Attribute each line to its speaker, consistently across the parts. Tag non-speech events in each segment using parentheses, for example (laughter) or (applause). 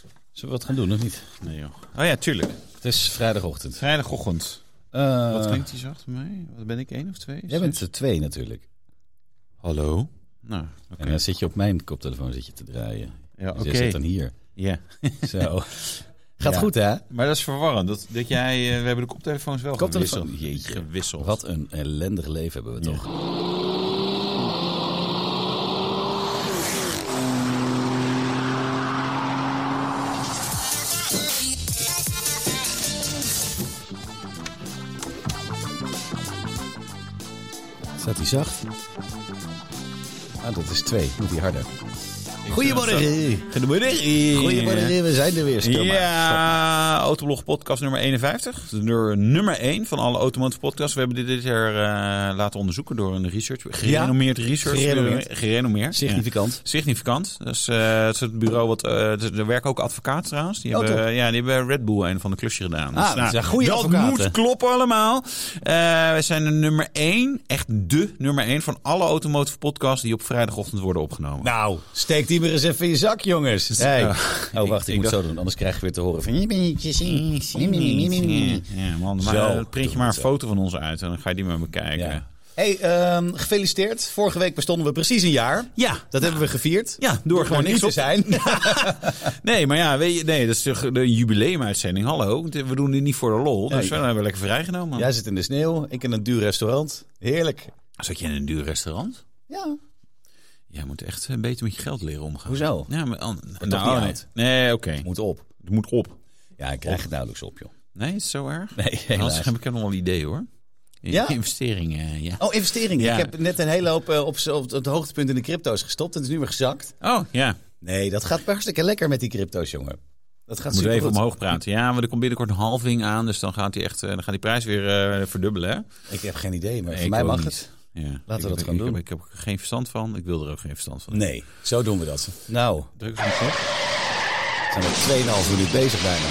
Speaker 1: Zullen we wat gaan doen of niet?
Speaker 2: Nee joh. Oh ja, tuurlijk.
Speaker 1: Het is vrijdagochtend.
Speaker 2: Vrijdagochtend.
Speaker 1: Eh,
Speaker 2: Wat klinkt die zacht voor mij? Wat ben ik, één of twee?
Speaker 1: Jij bent er twee natuurlijk.
Speaker 2: Hallo? Nou, oké.
Speaker 1: En dan zit je op mijn koptelefoon zit je te draaien.
Speaker 2: Ja,
Speaker 1: Dus
Speaker 2: oké.
Speaker 1: jij zit dan (laughs) hier.
Speaker 2: Ja.
Speaker 1: Zo. Gaat
Speaker 2: Ja.
Speaker 1: goed hè?
Speaker 2: Maar dat is verwarrend. Dat, dat jij, eh, we hebben de koptelefoons wel
Speaker 1: Koptelefoon-
Speaker 2: gewisseld.
Speaker 1: Jeetje.
Speaker 2: gewisseld.
Speaker 1: Wat een ellendig leven hebben we toch. Staat hij zacht? Ah, dat is twee. Moet hij harder.
Speaker 2: Ik-
Speaker 1: Goedemorgen.
Speaker 2: Goedemorgen.
Speaker 1: Goedemorgen, we zijn er weer. Stil maar.
Speaker 2: Ja, Autoblog podcast nummer 51. De nummer- nummer 1 van alle automotive podcasts. We hebben dit dit jaar eh, laten onderzoeken door een research. Gerenommeerd research.
Speaker 1: Gerenommeerd.
Speaker 2: Gerenommeerd. Ja.
Speaker 1: Significant.
Speaker 2: Significant. Dat is, eh, het is het bureau wat. eh, het is- er werken ook advocaten trouwens. Die
Speaker 1: Oh,
Speaker 2: hebben, ja, die hebben bij Red Bull een van de klusje gedaan. Dus, nou,
Speaker 1: Ah, dat zijn goede
Speaker 2: dat
Speaker 1: advocaten.
Speaker 2: moet kloppen allemaal. Eh, wij zijn de nummer 1, echt de nummer 1 van alle automotive podcasts die op vrijdagochtend worden opgenomen.
Speaker 1: Nou, steek die maar eens even in je zak, jongens. Hey.
Speaker 2: Ja.
Speaker 1: Oh, wacht, ik,
Speaker 2: ik
Speaker 1: moet
Speaker 2: dacht-
Speaker 1: zo doen, anders krijg je weer te horen van... Je bent je zin.
Speaker 2: Ja, man, maar,
Speaker 1: Zo,
Speaker 2: eh, print je maar een
Speaker 1: doe
Speaker 2: foto van ons uit en dan ga je die maar bekijken.
Speaker 1: Ja.
Speaker 2: Ja,
Speaker 1: Hey, ehm, gefeliciteerd. Vorige week bestonden we precies een jaar.
Speaker 2: ja,
Speaker 1: Dat hebben we gevierd.
Speaker 2: door
Speaker 1: Gewoon
Speaker 2: gewoon
Speaker 1: niks
Speaker 2: niks
Speaker 1: te
Speaker 2: op
Speaker 1: zijn.
Speaker 2: Nee, maar ja, weet je, nee, dat is toch de jubileumuitzending. Hallo, we doen dit niet voor de lol.
Speaker 1: Nee.
Speaker 2: dus we hebben lekker vrijgenomen.
Speaker 1: Jij zit in de sneeuw, ik in een duur restaurant. Heerlijk.
Speaker 2: Zat je in een duur restaurant?
Speaker 1: Ja.
Speaker 2: Jij moet echt een beetje met je geld leren omgaan.
Speaker 1: Hoezo?
Speaker 2: Ja, maar an-
Speaker 1: niet
Speaker 2: nee.
Speaker 1: uit.
Speaker 2: Nee, oké.
Speaker 1: Moet op.
Speaker 2: Het moet op.
Speaker 1: Ja, ik krijg het nauwelijks op, joh.
Speaker 2: Nee, is het zo erg? Nou,
Speaker 1: Nee,
Speaker 2: Anders
Speaker 1: helaas.
Speaker 2: heb ik nog wel ideeën hoor. In-
Speaker 1: Ja?
Speaker 2: Investeringen, eh, ja.
Speaker 1: Oh, investeringen.
Speaker 2: Ja.
Speaker 1: Ik heb net een hele hoop eh, op, z'n- op het hoogtepunt in de crypto's gestopt. En het is nu weer gezakt.
Speaker 2: Oh, ja.
Speaker 1: Nee, dat gaat hartstikke lekker met die crypto's, jongen. Dat gaat
Speaker 2: Moet
Speaker 1: super
Speaker 2: even omhoog praten. Ja, maar er komt binnenkort een halving aan. Dus dan gaat die, echt, eh, dan gaat die prijs weer eh, verdubbelen. Hè?
Speaker 1: Ik heb geen idee, maar
Speaker 2: Nee,
Speaker 1: voor
Speaker 2: ik
Speaker 1: mij
Speaker 2: ook
Speaker 1: mag
Speaker 2: niet.
Speaker 1: het.
Speaker 2: Ja.
Speaker 1: we
Speaker 2: Laten
Speaker 1: dat gaan
Speaker 2: ik,
Speaker 1: doen.
Speaker 2: Heb, ik heb er geen verstand van. Ik wil er ook geen verstand van.
Speaker 1: Nee, zo doen we dat. Nou,
Speaker 2: Druk eens op.
Speaker 1: zijn we 2,5 minuut bezig bijna.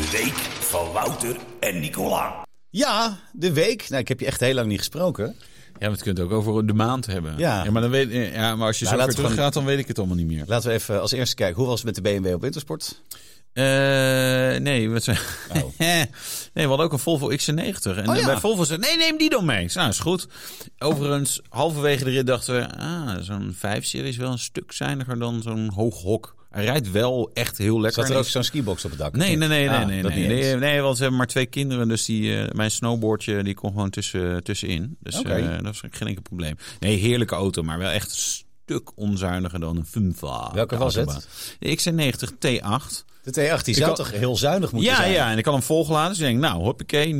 Speaker 3: De week van Wouter en Nicola.
Speaker 1: Ja, de week. Nou, ik heb je echt heel lang niet gesproken.
Speaker 2: Ja, we kunnen het ook over de maand hebben.
Speaker 1: Ja.
Speaker 2: maar, dan weet, ja, maar als je
Speaker 1: Ja,
Speaker 2: zo ver
Speaker 1: laten we
Speaker 2: terug gaat, dan weet ik het allemaal niet meer.
Speaker 1: Laten we even als eerste kijken. Hoe was het met de BMW op Wintersport?
Speaker 2: Eh, nee, wat zijn...
Speaker 1: Oh.
Speaker 2: (laughs) nee, we hadden ook een Volvo XC90. En
Speaker 1: Oh, ja.
Speaker 2: bij Volvo zei nee, neem die dan mee. Ik zei, Nou, is goed. Overigens, halverwege de rit dachten we... Ah, zo'n 5-serie is wel een stuk zuiniger dan zo'n hoog hok. Hij rijdt wel echt heel lekker.
Speaker 1: Zat er ook zo'n skibox op het dak?
Speaker 2: Nee, nee, nee, nee,
Speaker 1: Ah,
Speaker 2: nee,
Speaker 1: dat
Speaker 2: nee,
Speaker 1: niet eens.
Speaker 2: nee, nee, want ze hebben maar twee kinderen, dus die, eh, mijn snowboardje die kon gewoon tussen, tussenin. Dus
Speaker 1: Oké.
Speaker 2: eh, dat was geen enkel probleem. Nee, heerlijke auto, maar wel echt een stuk onzuiniger dan een Funva.
Speaker 1: Welke was het?
Speaker 2: De XC90 T8.
Speaker 1: De T8 die zou
Speaker 2: kan-
Speaker 1: toch heel zuinig moeten
Speaker 2: Ja,
Speaker 1: zijn?
Speaker 2: ja, en ik kan hem volgeladen. Dus ik denk, nou, hoppakee,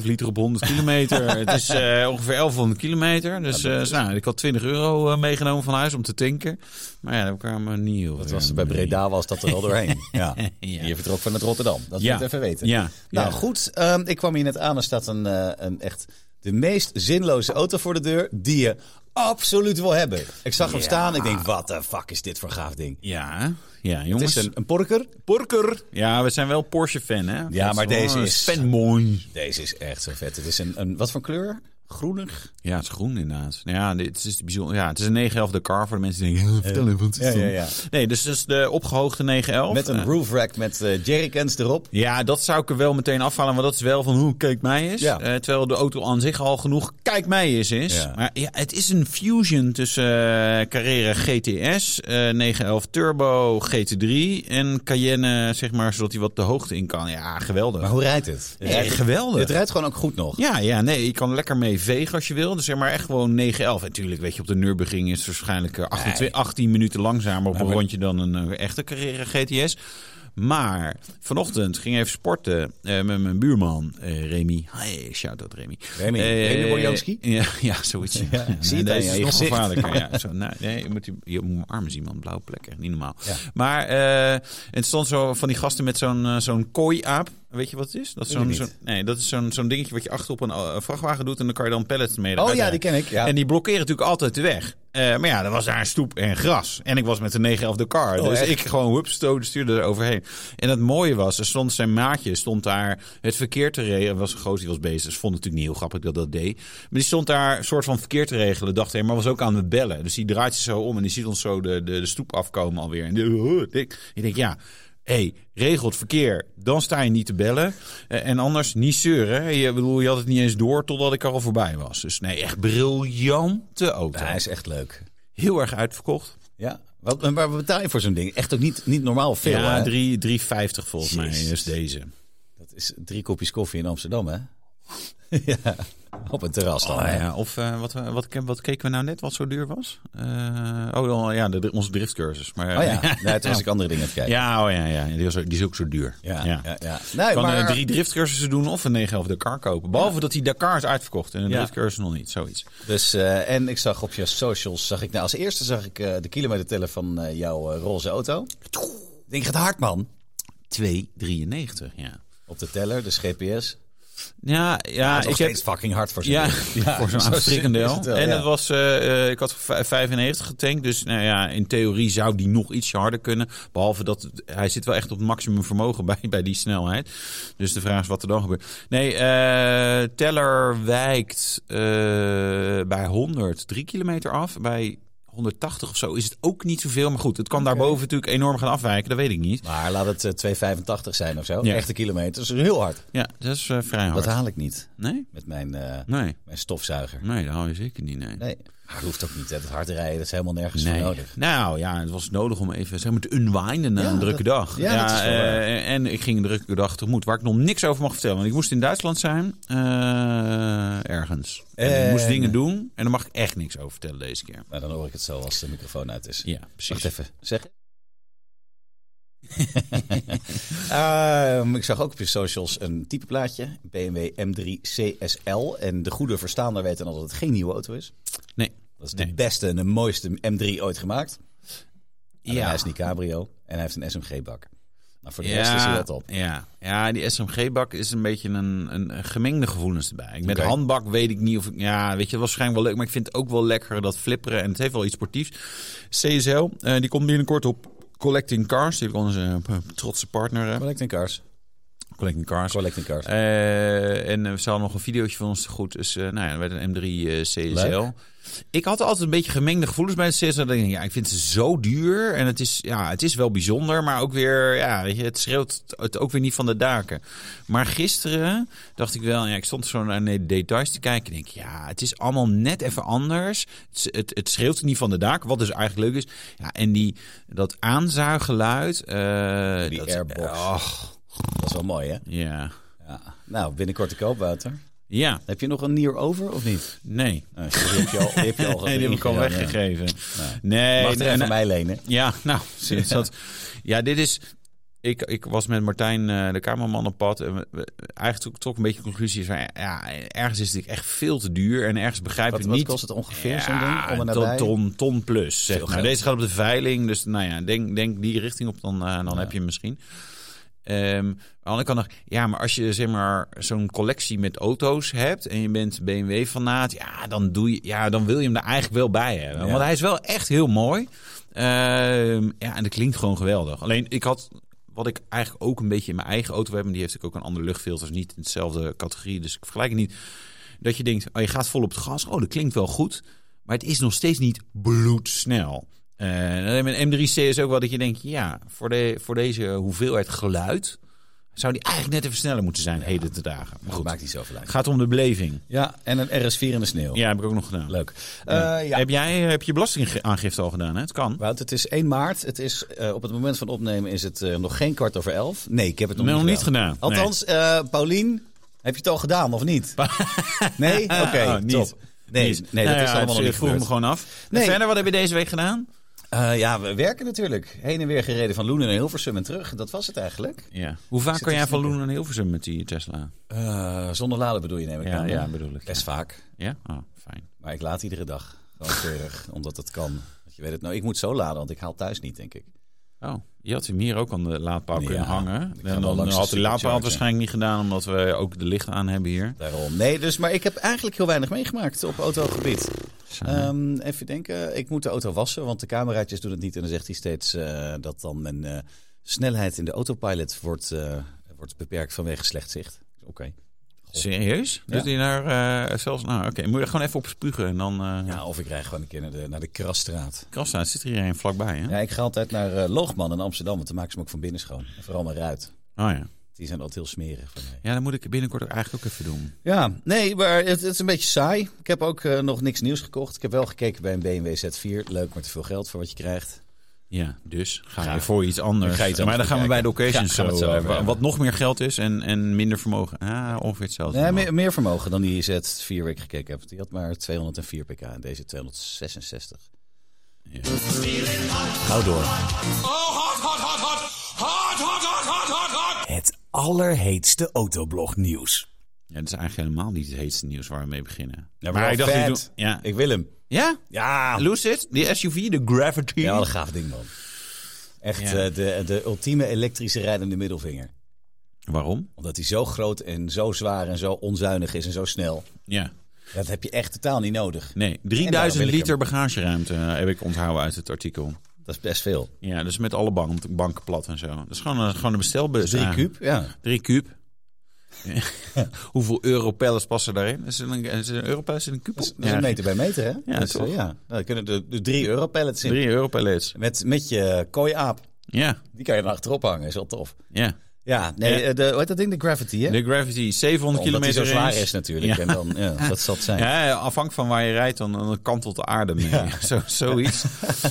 Speaker 2: 0,5 liter op 100
Speaker 1: (laughs)
Speaker 2: kilometer. het is eh, ongeveer 1100 kilometer. Dus eh, nou, ik had 20 euro eh, meegenomen van huis om te tanken. Maar ja, daar kwamen we niet heel
Speaker 1: Dat
Speaker 2: ver
Speaker 1: was, bij
Speaker 2: mee.
Speaker 1: Breda was dat er al
Speaker 2: (laughs)
Speaker 1: doorheen. ja.
Speaker 2: Ja.
Speaker 1: Je vertrok vanuit Rotterdam. Dat
Speaker 2: Ja.
Speaker 1: moet even weten.
Speaker 2: Ja.
Speaker 1: Nou
Speaker 2: Ja.
Speaker 1: goed, ehm, ik kwam hier net aan. Er staat een, eh, een echt de meest zinloze auto voor de deur die je absoluut wil hebben. Ik zag hem
Speaker 2: Ja.
Speaker 1: staan. Ik denk, wat de fuck is dit voor een gaaf ding?
Speaker 2: Ja, ja,
Speaker 1: Het
Speaker 2: jongens.
Speaker 1: is een, een porker.
Speaker 2: Porker. Ja, we zijn wel Porsche-fan, hè?
Speaker 1: Ja, maar
Speaker 2: Dat
Speaker 1: deze
Speaker 2: wel
Speaker 1: is-
Speaker 2: een Fanboy.
Speaker 1: Deze is echt zo vet. Het is een, een wat voor kleur? Groenig?
Speaker 2: Ja, het is groen inderdaad. Ja, dit is bijzonder. Ja, het is een 911 de car voor de mensen die denken... (laughs) Ja, vertel even, wat is
Speaker 1: ja,
Speaker 2: dat?
Speaker 1: ja, ja.
Speaker 2: Nee, dus dat is de opgehoogde 911.
Speaker 1: Met een
Speaker 2: Eh,
Speaker 1: roof rack met eh, jerrycans erop.
Speaker 2: Ja, dat zou ik er wel meteen afhalen, want dat is wel van hoe kijk mij eens.
Speaker 1: Ja.
Speaker 2: Eh, terwijl de auto aan zich al genoeg kijk mij eens is.
Speaker 1: Ja.
Speaker 2: Maar ja, het is een fusion tussen eh, Carrera GTS, eh 911 Turbo, GT3 en Cayenne, zeg maar, zodat hij wat de hoogte in kan. Ja, geweldig.
Speaker 1: Maar hoe rijdt het? Het
Speaker 2: Ja,
Speaker 1: rijdt-
Speaker 2: geweldig.
Speaker 1: Het rijdt gewoon ook goed nog.
Speaker 2: Ja, ja, nee, je kan er lekker mee vegen als je wil. Dus zeg maar echt gewoon 9-11. En Natuurlijk, weet je, op de Nürburgring is het waarschijnlijk eh, 28, 18 minuten langzamer op een
Speaker 1: maar-
Speaker 2: rondje dan een eh, echte Carrera GTS. Maar vanochtend ging ik even sporten eh, met mijn buurman eh, Remy. Hey, shout out Remy.
Speaker 1: Remy-
Speaker 2: Eh,
Speaker 1: Remy Borjanski?
Speaker 2: (laughs) Ja, ja, zoiets. Ja,
Speaker 1: ik zie het aan
Speaker 2: deze
Speaker 1: je
Speaker 2: is nog
Speaker 1: gezicht.
Speaker 2: gevaarlijker. ja. Zo, nou, nee, je moet, je, je moet mijn armen zien, man. Blauwe plekken, niet normaal.
Speaker 1: Ja.
Speaker 2: Maar eh, het stond zo van die gasten met zo'n eh, zo'n kooi-aap. Weet je wat het is? Dat is
Speaker 1: Weet
Speaker 2: zo'n
Speaker 1: ik
Speaker 2: zo'n-
Speaker 1: niet.
Speaker 2: nee, dat is zo'n zo'n dingetje wat je achter op een eh, vrachtwagen doet en dan kan je dan pallets mee.
Speaker 1: Oh
Speaker 2: eruit
Speaker 1: ja,
Speaker 2: halen.
Speaker 1: die ken ik. Ja.
Speaker 2: En die blokkeren natuurlijk altijd de weg. Eh, maar ja, er was daar een stoep en gras. En ik was met de 911 de car.
Speaker 1: Oh,
Speaker 2: dus
Speaker 1: echt?
Speaker 2: ik (laughs) gewoon hup, stoot, stuurde er overheen. En het mooie was, er stond zijn maatje, stond daar het verkeer te regelen. Er was een gozer die was bezig. Dus vond het natuurlijk niet heel grappig dat dat deed. Maar die stond daar een soort van verkeer te regelen. Dacht hij, maar was ook aan het bellen. Dus die draait zich zo om en die ziet ons zo de, de, de stoep afkomen alweer. En die, ik, ik denk, ja... Hé, hey, regel het verkeer. Dan sta je niet te bellen. Eh, en anders niet zeuren. hè. Je, bedoel, je had het niet eens door totdat ik er al voorbij was. Dus nee, echt briljante auto.
Speaker 1: Ja, hij is echt leuk.
Speaker 2: Heel erg uitverkocht.
Speaker 1: Ja. Wat, maar waar betaal je voor zo'n ding? Echt ook niet, niet normaal veel.
Speaker 2: ja,
Speaker 1: hè?
Speaker 2: 3 3,50 volgens
Speaker 1: Jezus.
Speaker 2: mij is deze.
Speaker 1: Dat is drie kopjes koffie in Amsterdam, hè? (laughs) ja. Op een terras dan. hè?
Speaker 2: ja, of eh, wat, wat, wat keken we nou net wat zo duur was? Eh, oh dan- ja, de, onze driftcursus. Maar,
Speaker 1: Oh ja,
Speaker 2: (laughs)
Speaker 1: nee, toen was ik andere dingen aan het kijken.
Speaker 2: Ja, oh ja, ja. Die, was, ook- die is ook zo duur.
Speaker 1: ja, ja. ja, Nee,
Speaker 2: Je kan eh,
Speaker 1: maar,
Speaker 2: drie driftcursussen doen of een 9 of de car kopen. Behalve dat die Dakar is uitverkocht en een
Speaker 1: Ja.
Speaker 2: driftcursus nog niet. Zoiets.
Speaker 1: dus, eh, en ik zag op je socials, zag ik, nou, als eerste zag ik eh, de kilometerteller van eh, jouw eh, roze auto. Ik Denk, het hard, man.
Speaker 2: 2,93. Ja.
Speaker 1: Op de teller, dus GPS.
Speaker 2: Ja, ja
Speaker 1: Nog
Speaker 2: ik
Speaker 1: steeds
Speaker 2: heb.
Speaker 1: fucking hard voor zo'n
Speaker 2: Ja,
Speaker 1: ding.
Speaker 2: voor (laughs) zo'n
Speaker 1: zo
Speaker 2: aanstrikkende
Speaker 1: is
Speaker 2: hel.
Speaker 1: het wel,
Speaker 2: En
Speaker 1: ja.
Speaker 2: dat was, eh, eh, ik had vij- 95 getankt, dus nou ja, in theorie zou die nog ietsje harder kunnen. Behalve dat het- hij zit wel echt op het maximum vermogen (laughs) bij, bij die snelheid. Dus de vraag is wat er dan gebeurt. Nee, eh, teller wijkt eh, bij 100 3 kilometer af. Bij 180 of zo is het ook niet zoveel. Maar goed, het kan daarboven natuurlijk enorm gaan afwijken, dat weet ik niet.
Speaker 1: Maar laat het eh, 2,85 zijn of zo.
Speaker 2: Ja.
Speaker 1: Echte kilometers, heel hard.
Speaker 2: Ja, dat is eh, vrij hard.
Speaker 1: Dat haal ik niet
Speaker 2: Nee?
Speaker 1: met mijn, eh,
Speaker 2: Nee.
Speaker 1: mijn stofzuiger.
Speaker 2: Nee, dat hou je zeker niet, nee.
Speaker 1: Nee, maar dat hoeft ook niet. Hè. Dat hard rijden, dat is helemaal nergens voor nodig.
Speaker 2: Nou ja, het was nodig om even zeg maar, te unwinden na
Speaker 1: Ja,
Speaker 2: een drukke
Speaker 1: dat-
Speaker 2: dag.
Speaker 1: ja, dat is wel
Speaker 2: eh,
Speaker 1: waar.
Speaker 2: en, ik ging een drukke dag tegemoet, waar ik nog niks over mag vertellen. Want ik moest in Duitsland zijn, eh, ergens. En ik moest
Speaker 1: En-
Speaker 2: dingen doen en daar mag ik echt niks over vertellen deze keer.
Speaker 1: Maar dan hoor ik het zo als de microfoon uit is.
Speaker 2: Ja,
Speaker 1: Wacht
Speaker 2: precies.
Speaker 1: even,
Speaker 2: (laughs)
Speaker 1: zeg. Ehm, ik zag ook op je socials een type plaatje. BMW M3 CSL. En de goede verstaander weten al dat het geen nieuwe auto is.
Speaker 2: Nee.
Speaker 1: Dat is de
Speaker 2: Nee.
Speaker 1: beste en de mooiste M3 ooit gemaakt. Ja. Hij
Speaker 2: Ja.
Speaker 1: is niet cabrio en hij heeft een SMG-bak. Nou, voor de rest is hij
Speaker 2: Ja,
Speaker 1: wat op.
Speaker 2: ja. ja, die SMG-bak is een beetje een, een een gemengde gevoelens erbij. Met
Speaker 1: Oké.
Speaker 2: handbak weet ik niet of ik... Ja, weet je, het was waarschijnlijk wel leuk. Maar ik vind het ook wel lekker dat flipperen. En het heeft wel iets sportiefs. CSL, eh, die komt binnenkort op Collecting Cars. Die is onze eh, trotse partner. eh,
Speaker 1: Collecting cars.
Speaker 2: Collecting Cars.
Speaker 1: Collecting cars.
Speaker 2: Eh, en eh, we hadden nog een videootje van ons te goed. Dus eh, nou ja, met een M3 eh, CSL.
Speaker 1: Leuk.
Speaker 2: Ik had altijd een beetje gemengde gevoelens bij de CSL. Dan denk ik, ja, ik vind ze zo duur. En het is, ja, het is wel bijzonder. Maar ook weer, ja, weet je, het schreeuwt het ook weer niet van de daken. Maar gisteren dacht ik wel, ja, ik stond zo naar de details te kijken. En ik denk, ja, het is allemaal net even anders. Het, het, het schreeuwt niet van de daken, wat dus eigenlijk leuk is. Ja, en die, dat aanzuiggeluid. eh,
Speaker 1: Die
Speaker 2: dat,
Speaker 1: airbox.
Speaker 2: Ach,
Speaker 1: Dat is wel mooi, hè?
Speaker 2: ja.
Speaker 1: Ja. Nou, binnenkort de koop, Wouter.
Speaker 2: Ja,
Speaker 1: Heb je nog een nier over of niet?
Speaker 2: nee.
Speaker 1: Nou, die heb je al, die heb je al
Speaker 2: (laughs) Nee, die heb ik al
Speaker 1: ingedaan, ja.
Speaker 2: weggegeven. Nee,
Speaker 1: Mag het even
Speaker 2: nee, nee.
Speaker 1: van mij lenen?
Speaker 2: Ja, nou, (laughs) sinds dat. Ja, dit is. Ik, ik was met Martijn, eh, de cameraman, op pad. En we- we- eigenlijk trok een beetje de conclusie van... Ja, ergens is het echt veel te duur. En ergens begrijp
Speaker 1: Wat,
Speaker 2: ik
Speaker 1: wat
Speaker 2: niet...
Speaker 1: kost het ongeveer
Speaker 2: Ja,
Speaker 1: zo'n ding? Om en
Speaker 2: ton,
Speaker 1: nabij?
Speaker 2: ton, ton plus. Zeg
Speaker 1: Veel
Speaker 2: maar.
Speaker 1: geld.
Speaker 2: Deze gaat op de veiling. Dus nou ja, denk, denk die richting op, dan, eh, dan heb je hem misschien. Ehm, aan de andere kant nog, ja, maar als je zeg maar zo'n collectie met auto's hebt en je bent BMW fanaat, ja, dan doe je, ja, dan wil je hem er eigenlijk wel bij hebben,
Speaker 1: Ja.
Speaker 2: want hij is wel echt heel mooi. Ehm, ja, en dat klinkt gewoon geweldig. Alleen ik had wat ik eigenlijk ook een beetje in mijn eigen auto heb, en die heeft natuurlijk ook een andere luchtfilter, is niet in dezelfde categorie, dus ik vergelijk het niet. Dat je denkt, oh, je gaat vol op het gas, oh, dat klinkt wel goed, maar het is nog steeds niet bloedsnel. Eh, En een M3C is ook wel dat je denkt, ja, voor, de, voor deze hoeveelheid geluid zou die eigenlijk net even sneller moeten zijn heden te dagen. Maar
Speaker 1: Dat
Speaker 2: goed,
Speaker 1: maakt
Speaker 2: het
Speaker 1: niet zoveel uit.
Speaker 2: gaat om de beleving.
Speaker 1: Ja, en een RS4 in de sneeuw.
Speaker 2: Ja, heb ik ook nog gedaan.
Speaker 1: Leuk. Eh, ja.
Speaker 2: Heb jij heb je belastingaangifte al gedaan? Hè? Het kan.
Speaker 1: Wout, het is 1 maart. Het is, eh, op het moment van opnemen is het eh, nog geen kwart over elf. Nee, ik heb het nog,
Speaker 2: Nog
Speaker 1: niet,
Speaker 2: niet gedaan. Nee.
Speaker 1: Althans, eh Paulien, heb je het al gedaan of niet?
Speaker 2: (laughs)
Speaker 1: nee? Oké,
Speaker 2: Oh,
Speaker 1: top.
Speaker 2: niet.
Speaker 1: Nee,
Speaker 2: Niet.
Speaker 1: nee, dat
Speaker 2: Nou ja,
Speaker 1: is allemaal nog
Speaker 2: het,
Speaker 1: niet
Speaker 2: eh, vroeg me
Speaker 1: gebeurd.
Speaker 2: gewoon af.
Speaker 1: Nee.
Speaker 2: En verder, wat heb je deze week gedaan?
Speaker 1: Eh, ja, we werken natuurlijk. Heen en weer gereden van Loenen naar Hilversum en terug. Dat was het eigenlijk.
Speaker 2: Ja. Hoe vaak
Speaker 1: Zit
Speaker 2: kan
Speaker 1: te
Speaker 2: jij van
Speaker 1: snikken.
Speaker 2: Loenen naar Hilversum met die Tesla?
Speaker 1: Eh, zonder laden bedoel je, neem ik
Speaker 2: Ja,
Speaker 1: aan.
Speaker 2: ja, bedoel ik,
Speaker 1: Best vaak.
Speaker 2: Ja? Oh, fijn.
Speaker 1: Maar ik laat iedere dag. Gewoon keurig, omdat het kan. Want je weet het nou, ik moet zo laden, want ik haal thuis niet, denk ik.
Speaker 2: Oh, je had hem hier ook aan de laadpaal
Speaker 1: Ja,
Speaker 2: kunnen hangen.
Speaker 1: ik ga wel
Speaker 2: En dan eh,
Speaker 1: langs de
Speaker 2: had de laadpaal
Speaker 1: supercharger.
Speaker 2: het waarschijnlijk niet gedaan, omdat we ook de lichten aan hebben hier.
Speaker 1: Daarom. Nee, dus, maar ik heb eigenlijk heel weinig meegemaakt op autogebied. Ehm, even denken, ik moet de auto wassen, want de cameraatjes doen het niet. En dan zegt hij steeds eh, dat dan mijn eh, snelheid in de autopilot wordt, eh, wordt beperkt vanwege slecht zicht. Oké.
Speaker 2: Serieus?
Speaker 1: Ja.
Speaker 2: Dus die naar eh, zelfs. Nou, oké. Moet je er gewoon even op spugen en dan. eh ja.
Speaker 1: Ja, of ik rij gewoon een keer naar de, naar de krasstraat.
Speaker 2: Krasstraat zit er hier een vlakbij, hè?
Speaker 1: Ja, ik ga altijd naar eh, Loogman in Amsterdam, want dan maken ze hem ook van binnen schoon. En vooral naar ruit.
Speaker 2: Oh ja.
Speaker 1: Die zijn altijd heel smerig voor mij.
Speaker 2: Ja, dat moet ik binnenkort ook eigenlijk ook even doen.
Speaker 1: Ja, nee, maar het, het is een beetje saai. Ik heb ook eh, nog niks nieuws gekocht. Ik heb wel gekeken bij een BMW Z4. Leuk, maar te veel geld voor wat je krijgt.
Speaker 2: Ja, dus ga,
Speaker 1: Ga.
Speaker 2: je voor iets anders.
Speaker 1: Ik ga iets
Speaker 2: maar dan
Speaker 1: anders
Speaker 2: gaan we bij de
Speaker 1: bekijken.
Speaker 2: occasion
Speaker 1: Ja, gaan we het zo
Speaker 2: zo. eh,
Speaker 1: over
Speaker 2: wa-
Speaker 1: hebben.
Speaker 2: wat nog meer geld is en, en minder vermogen. Ah, ongeveer hetzelfde.
Speaker 1: Nee, meer, meer vermogen dan die Z4 waar ik gekeken heb. Die had maar 204 pk en deze 266.
Speaker 2: Ja.
Speaker 1: Gauw door.
Speaker 3: Het allerheetste autoblog nieuws.
Speaker 2: Ja, dat is eigenlijk helemaal niet het heetste nieuws waar we mee beginnen.
Speaker 1: Ja, maar, ik
Speaker 2: ik
Speaker 1: dacht,
Speaker 2: doe- ja.
Speaker 1: ik wil hem.
Speaker 2: ja?
Speaker 1: Ja,
Speaker 2: Lucid? Die SUV, de Gravity?
Speaker 1: Ja, wat een gaaf ding, man. Echt
Speaker 2: Ja.
Speaker 1: eh, de, de ultieme elektrische rijdende middelvinger.
Speaker 2: Waarom?
Speaker 1: Omdat hij zo groot en zo zwaar en zo onzuinig is en zo snel.
Speaker 2: Ja.
Speaker 1: Dat heb je echt totaal niet nodig.
Speaker 2: Nee,
Speaker 1: En daarom
Speaker 2: 3000
Speaker 1: wil ik
Speaker 2: liter bagageruimte eh, heb ik onthouden uit het artikel.
Speaker 1: Dat is best veel.
Speaker 2: Ja, dus met alle bank, banken plat en zo. Dat is gewoon een, gewoon een bestelbus.
Speaker 1: Drie
Speaker 2: eigenlijk.
Speaker 1: kuub, ja.
Speaker 2: Dus Drie kuub. (laughs) Hoeveel europellers passen daarin? Is het een, is het een europellers in een kuub?
Speaker 1: Dat is, dat is een meter bij meter, hè?
Speaker 2: Ja,
Speaker 1: dus, eh,
Speaker 2: toch?
Speaker 1: ja. Nou, daar kunnen er dus drie euro pallets in.
Speaker 2: Drie europellets.
Speaker 1: Met, met je kooiaap.
Speaker 2: Ja,
Speaker 1: Die kan je dan achterop hangen, is wel tof.
Speaker 2: ja.
Speaker 1: Ja, nee,
Speaker 2: Ja.
Speaker 1: eh, De, hoe heet dat ding? De Gravity, hè?
Speaker 2: De Gravity, 700
Speaker 1: Omdat hij
Speaker 2: kilometer
Speaker 1: zo zwaar
Speaker 2: range.
Speaker 1: is natuurlijk.
Speaker 2: Ja.
Speaker 1: En dan, ja, dat zal het zijn.
Speaker 2: Ja, ja, afhankelijk van waar je rijdt, dan, dan kantelt de aarde mee. (laughs) Zo,
Speaker 1: (laughs)
Speaker 2: zoiets.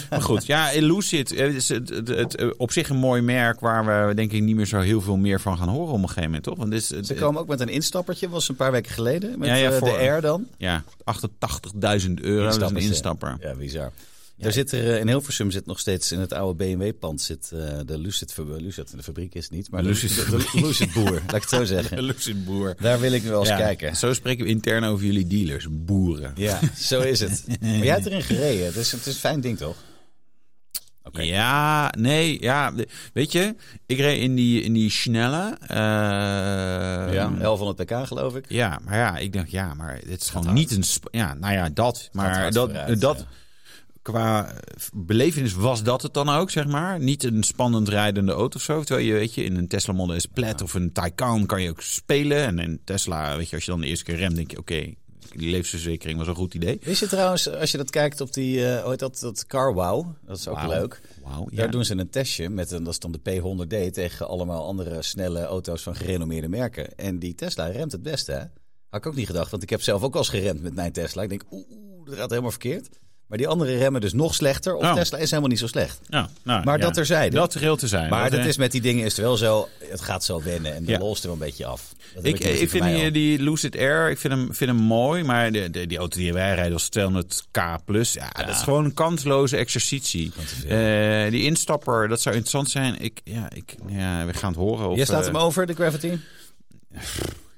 Speaker 2: maar goed, ja, Lucid eh, is het, het, het, eh, op zich een mooi merk waar we denk ik niet meer zo heel veel meer van gaan horen op een gegeven moment, toch? Want dit is, het-
Speaker 1: Ze kwamen ook met een instappertje, was een paar weken geleden. Met
Speaker 2: Ja, ja,
Speaker 1: eh,
Speaker 2: voor-
Speaker 1: de R dan.
Speaker 2: ja, 88.000 euro dat is een
Speaker 1: Instappers, hè?
Speaker 2: instapper.
Speaker 1: Ja, bizar. Daar zit er, eh, in Hilversum zit nog steeds, in het oude BMW-pand zit eh, de Lucid, fab- Lucid, de fabriek is het niet, maar de-
Speaker 2: Lucid
Speaker 1: de, de (laughs) Lucid boer, laat ik het zo zeggen.
Speaker 2: Een Lucid boer.
Speaker 1: (laughs) Daar wil ik nu wel eens
Speaker 2: Ja,
Speaker 1: kijken.
Speaker 2: Zo spreken we intern over jullie dealers, boeren.
Speaker 1: Ja, zo is het. (laughs) Maar jij hebt erin gereden, het is, het is een fijn ding toch? Oké.
Speaker 2: Ja, nee, ja. Weet je, ik reed in die, in die eh, snelle. eh,
Speaker 1: Ja, 1100 pk geloof ik.
Speaker 2: Ja, maar ja, ik denk, ja, maar dit is gewoon niet een... sp- Ja, nou ja, dat. Maar
Speaker 1: hard
Speaker 2: dat,
Speaker 1: vooruit,
Speaker 2: dat
Speaker 1: ja.
Speaker 2: qua eh, belevenis was dat het dan ook, zeg maar. Niet een spannend rijdende auto of zo. Terwijl je, weet je, in een Tesla Model S Plaid of een Taycan kan je ook spelen. En in Tesla, weet je, als je dan de eerste keer remt, denk je, oké, die levensverzekering was een goed idee.
Speaker 1: Wist je trouwens, als je dat kijkt op die, eh, hoe heet dat, dat Car Wow, dat is ook
Speaker 2: Wauw.
Speaker 1: leuk.
Speaker 2: Wauw, ja.
Speaker 1: Daar doen ze een testje met een, dat is dan de P100D tegen allemaal andere snelle auto's van gerenommeerde merken. En die Tesla remt het beste, hè? Had ik ook niet gedacht, want ik heb zelf ook wel eens geremd met mijn Tesla. Ik denk, oeh, oeh, dat gaat helemaal verkeerd. Maar die andere remmen dus nog slechter. Of
Speaker 2: Oh.
Speaker 1: Tesla is helemaal niet zo slecht.
Speaker 2: Ja, nou,
Speaker 1: Maar
Speaker 2: ja.
Speaker 1: dat terzijde.
Speaker 2: Dat geheel te zijn.
Speaker 1: Maar dat is met die dingen is het wel zo, het gaat zo wennen en de
Speaker 2: Ja.
Speaker 1: lol is er wel een beetje af. Dat heb
Speaker 2: Ik, eh,
Speaker 1: een beetje
Speaker 2: ik vind
Speaker 1: voor mij
Speaker 2: die,
Speaker 1: al.
Speaker 2: die Lucid Air, ik vind hem, vind hem mooi. Maar de, de- die auto die wij rijden was 200k plus. Ja, dat is gewoon een kansloze exercitie. Eh, die instapper, dat zou interessant zijn. Ik, ja, ik, ja, we gaan het horen. Of,
Speaker 1: Jij staat
Speaker 2: eh,
Speaker 1: hem over, de Gravity?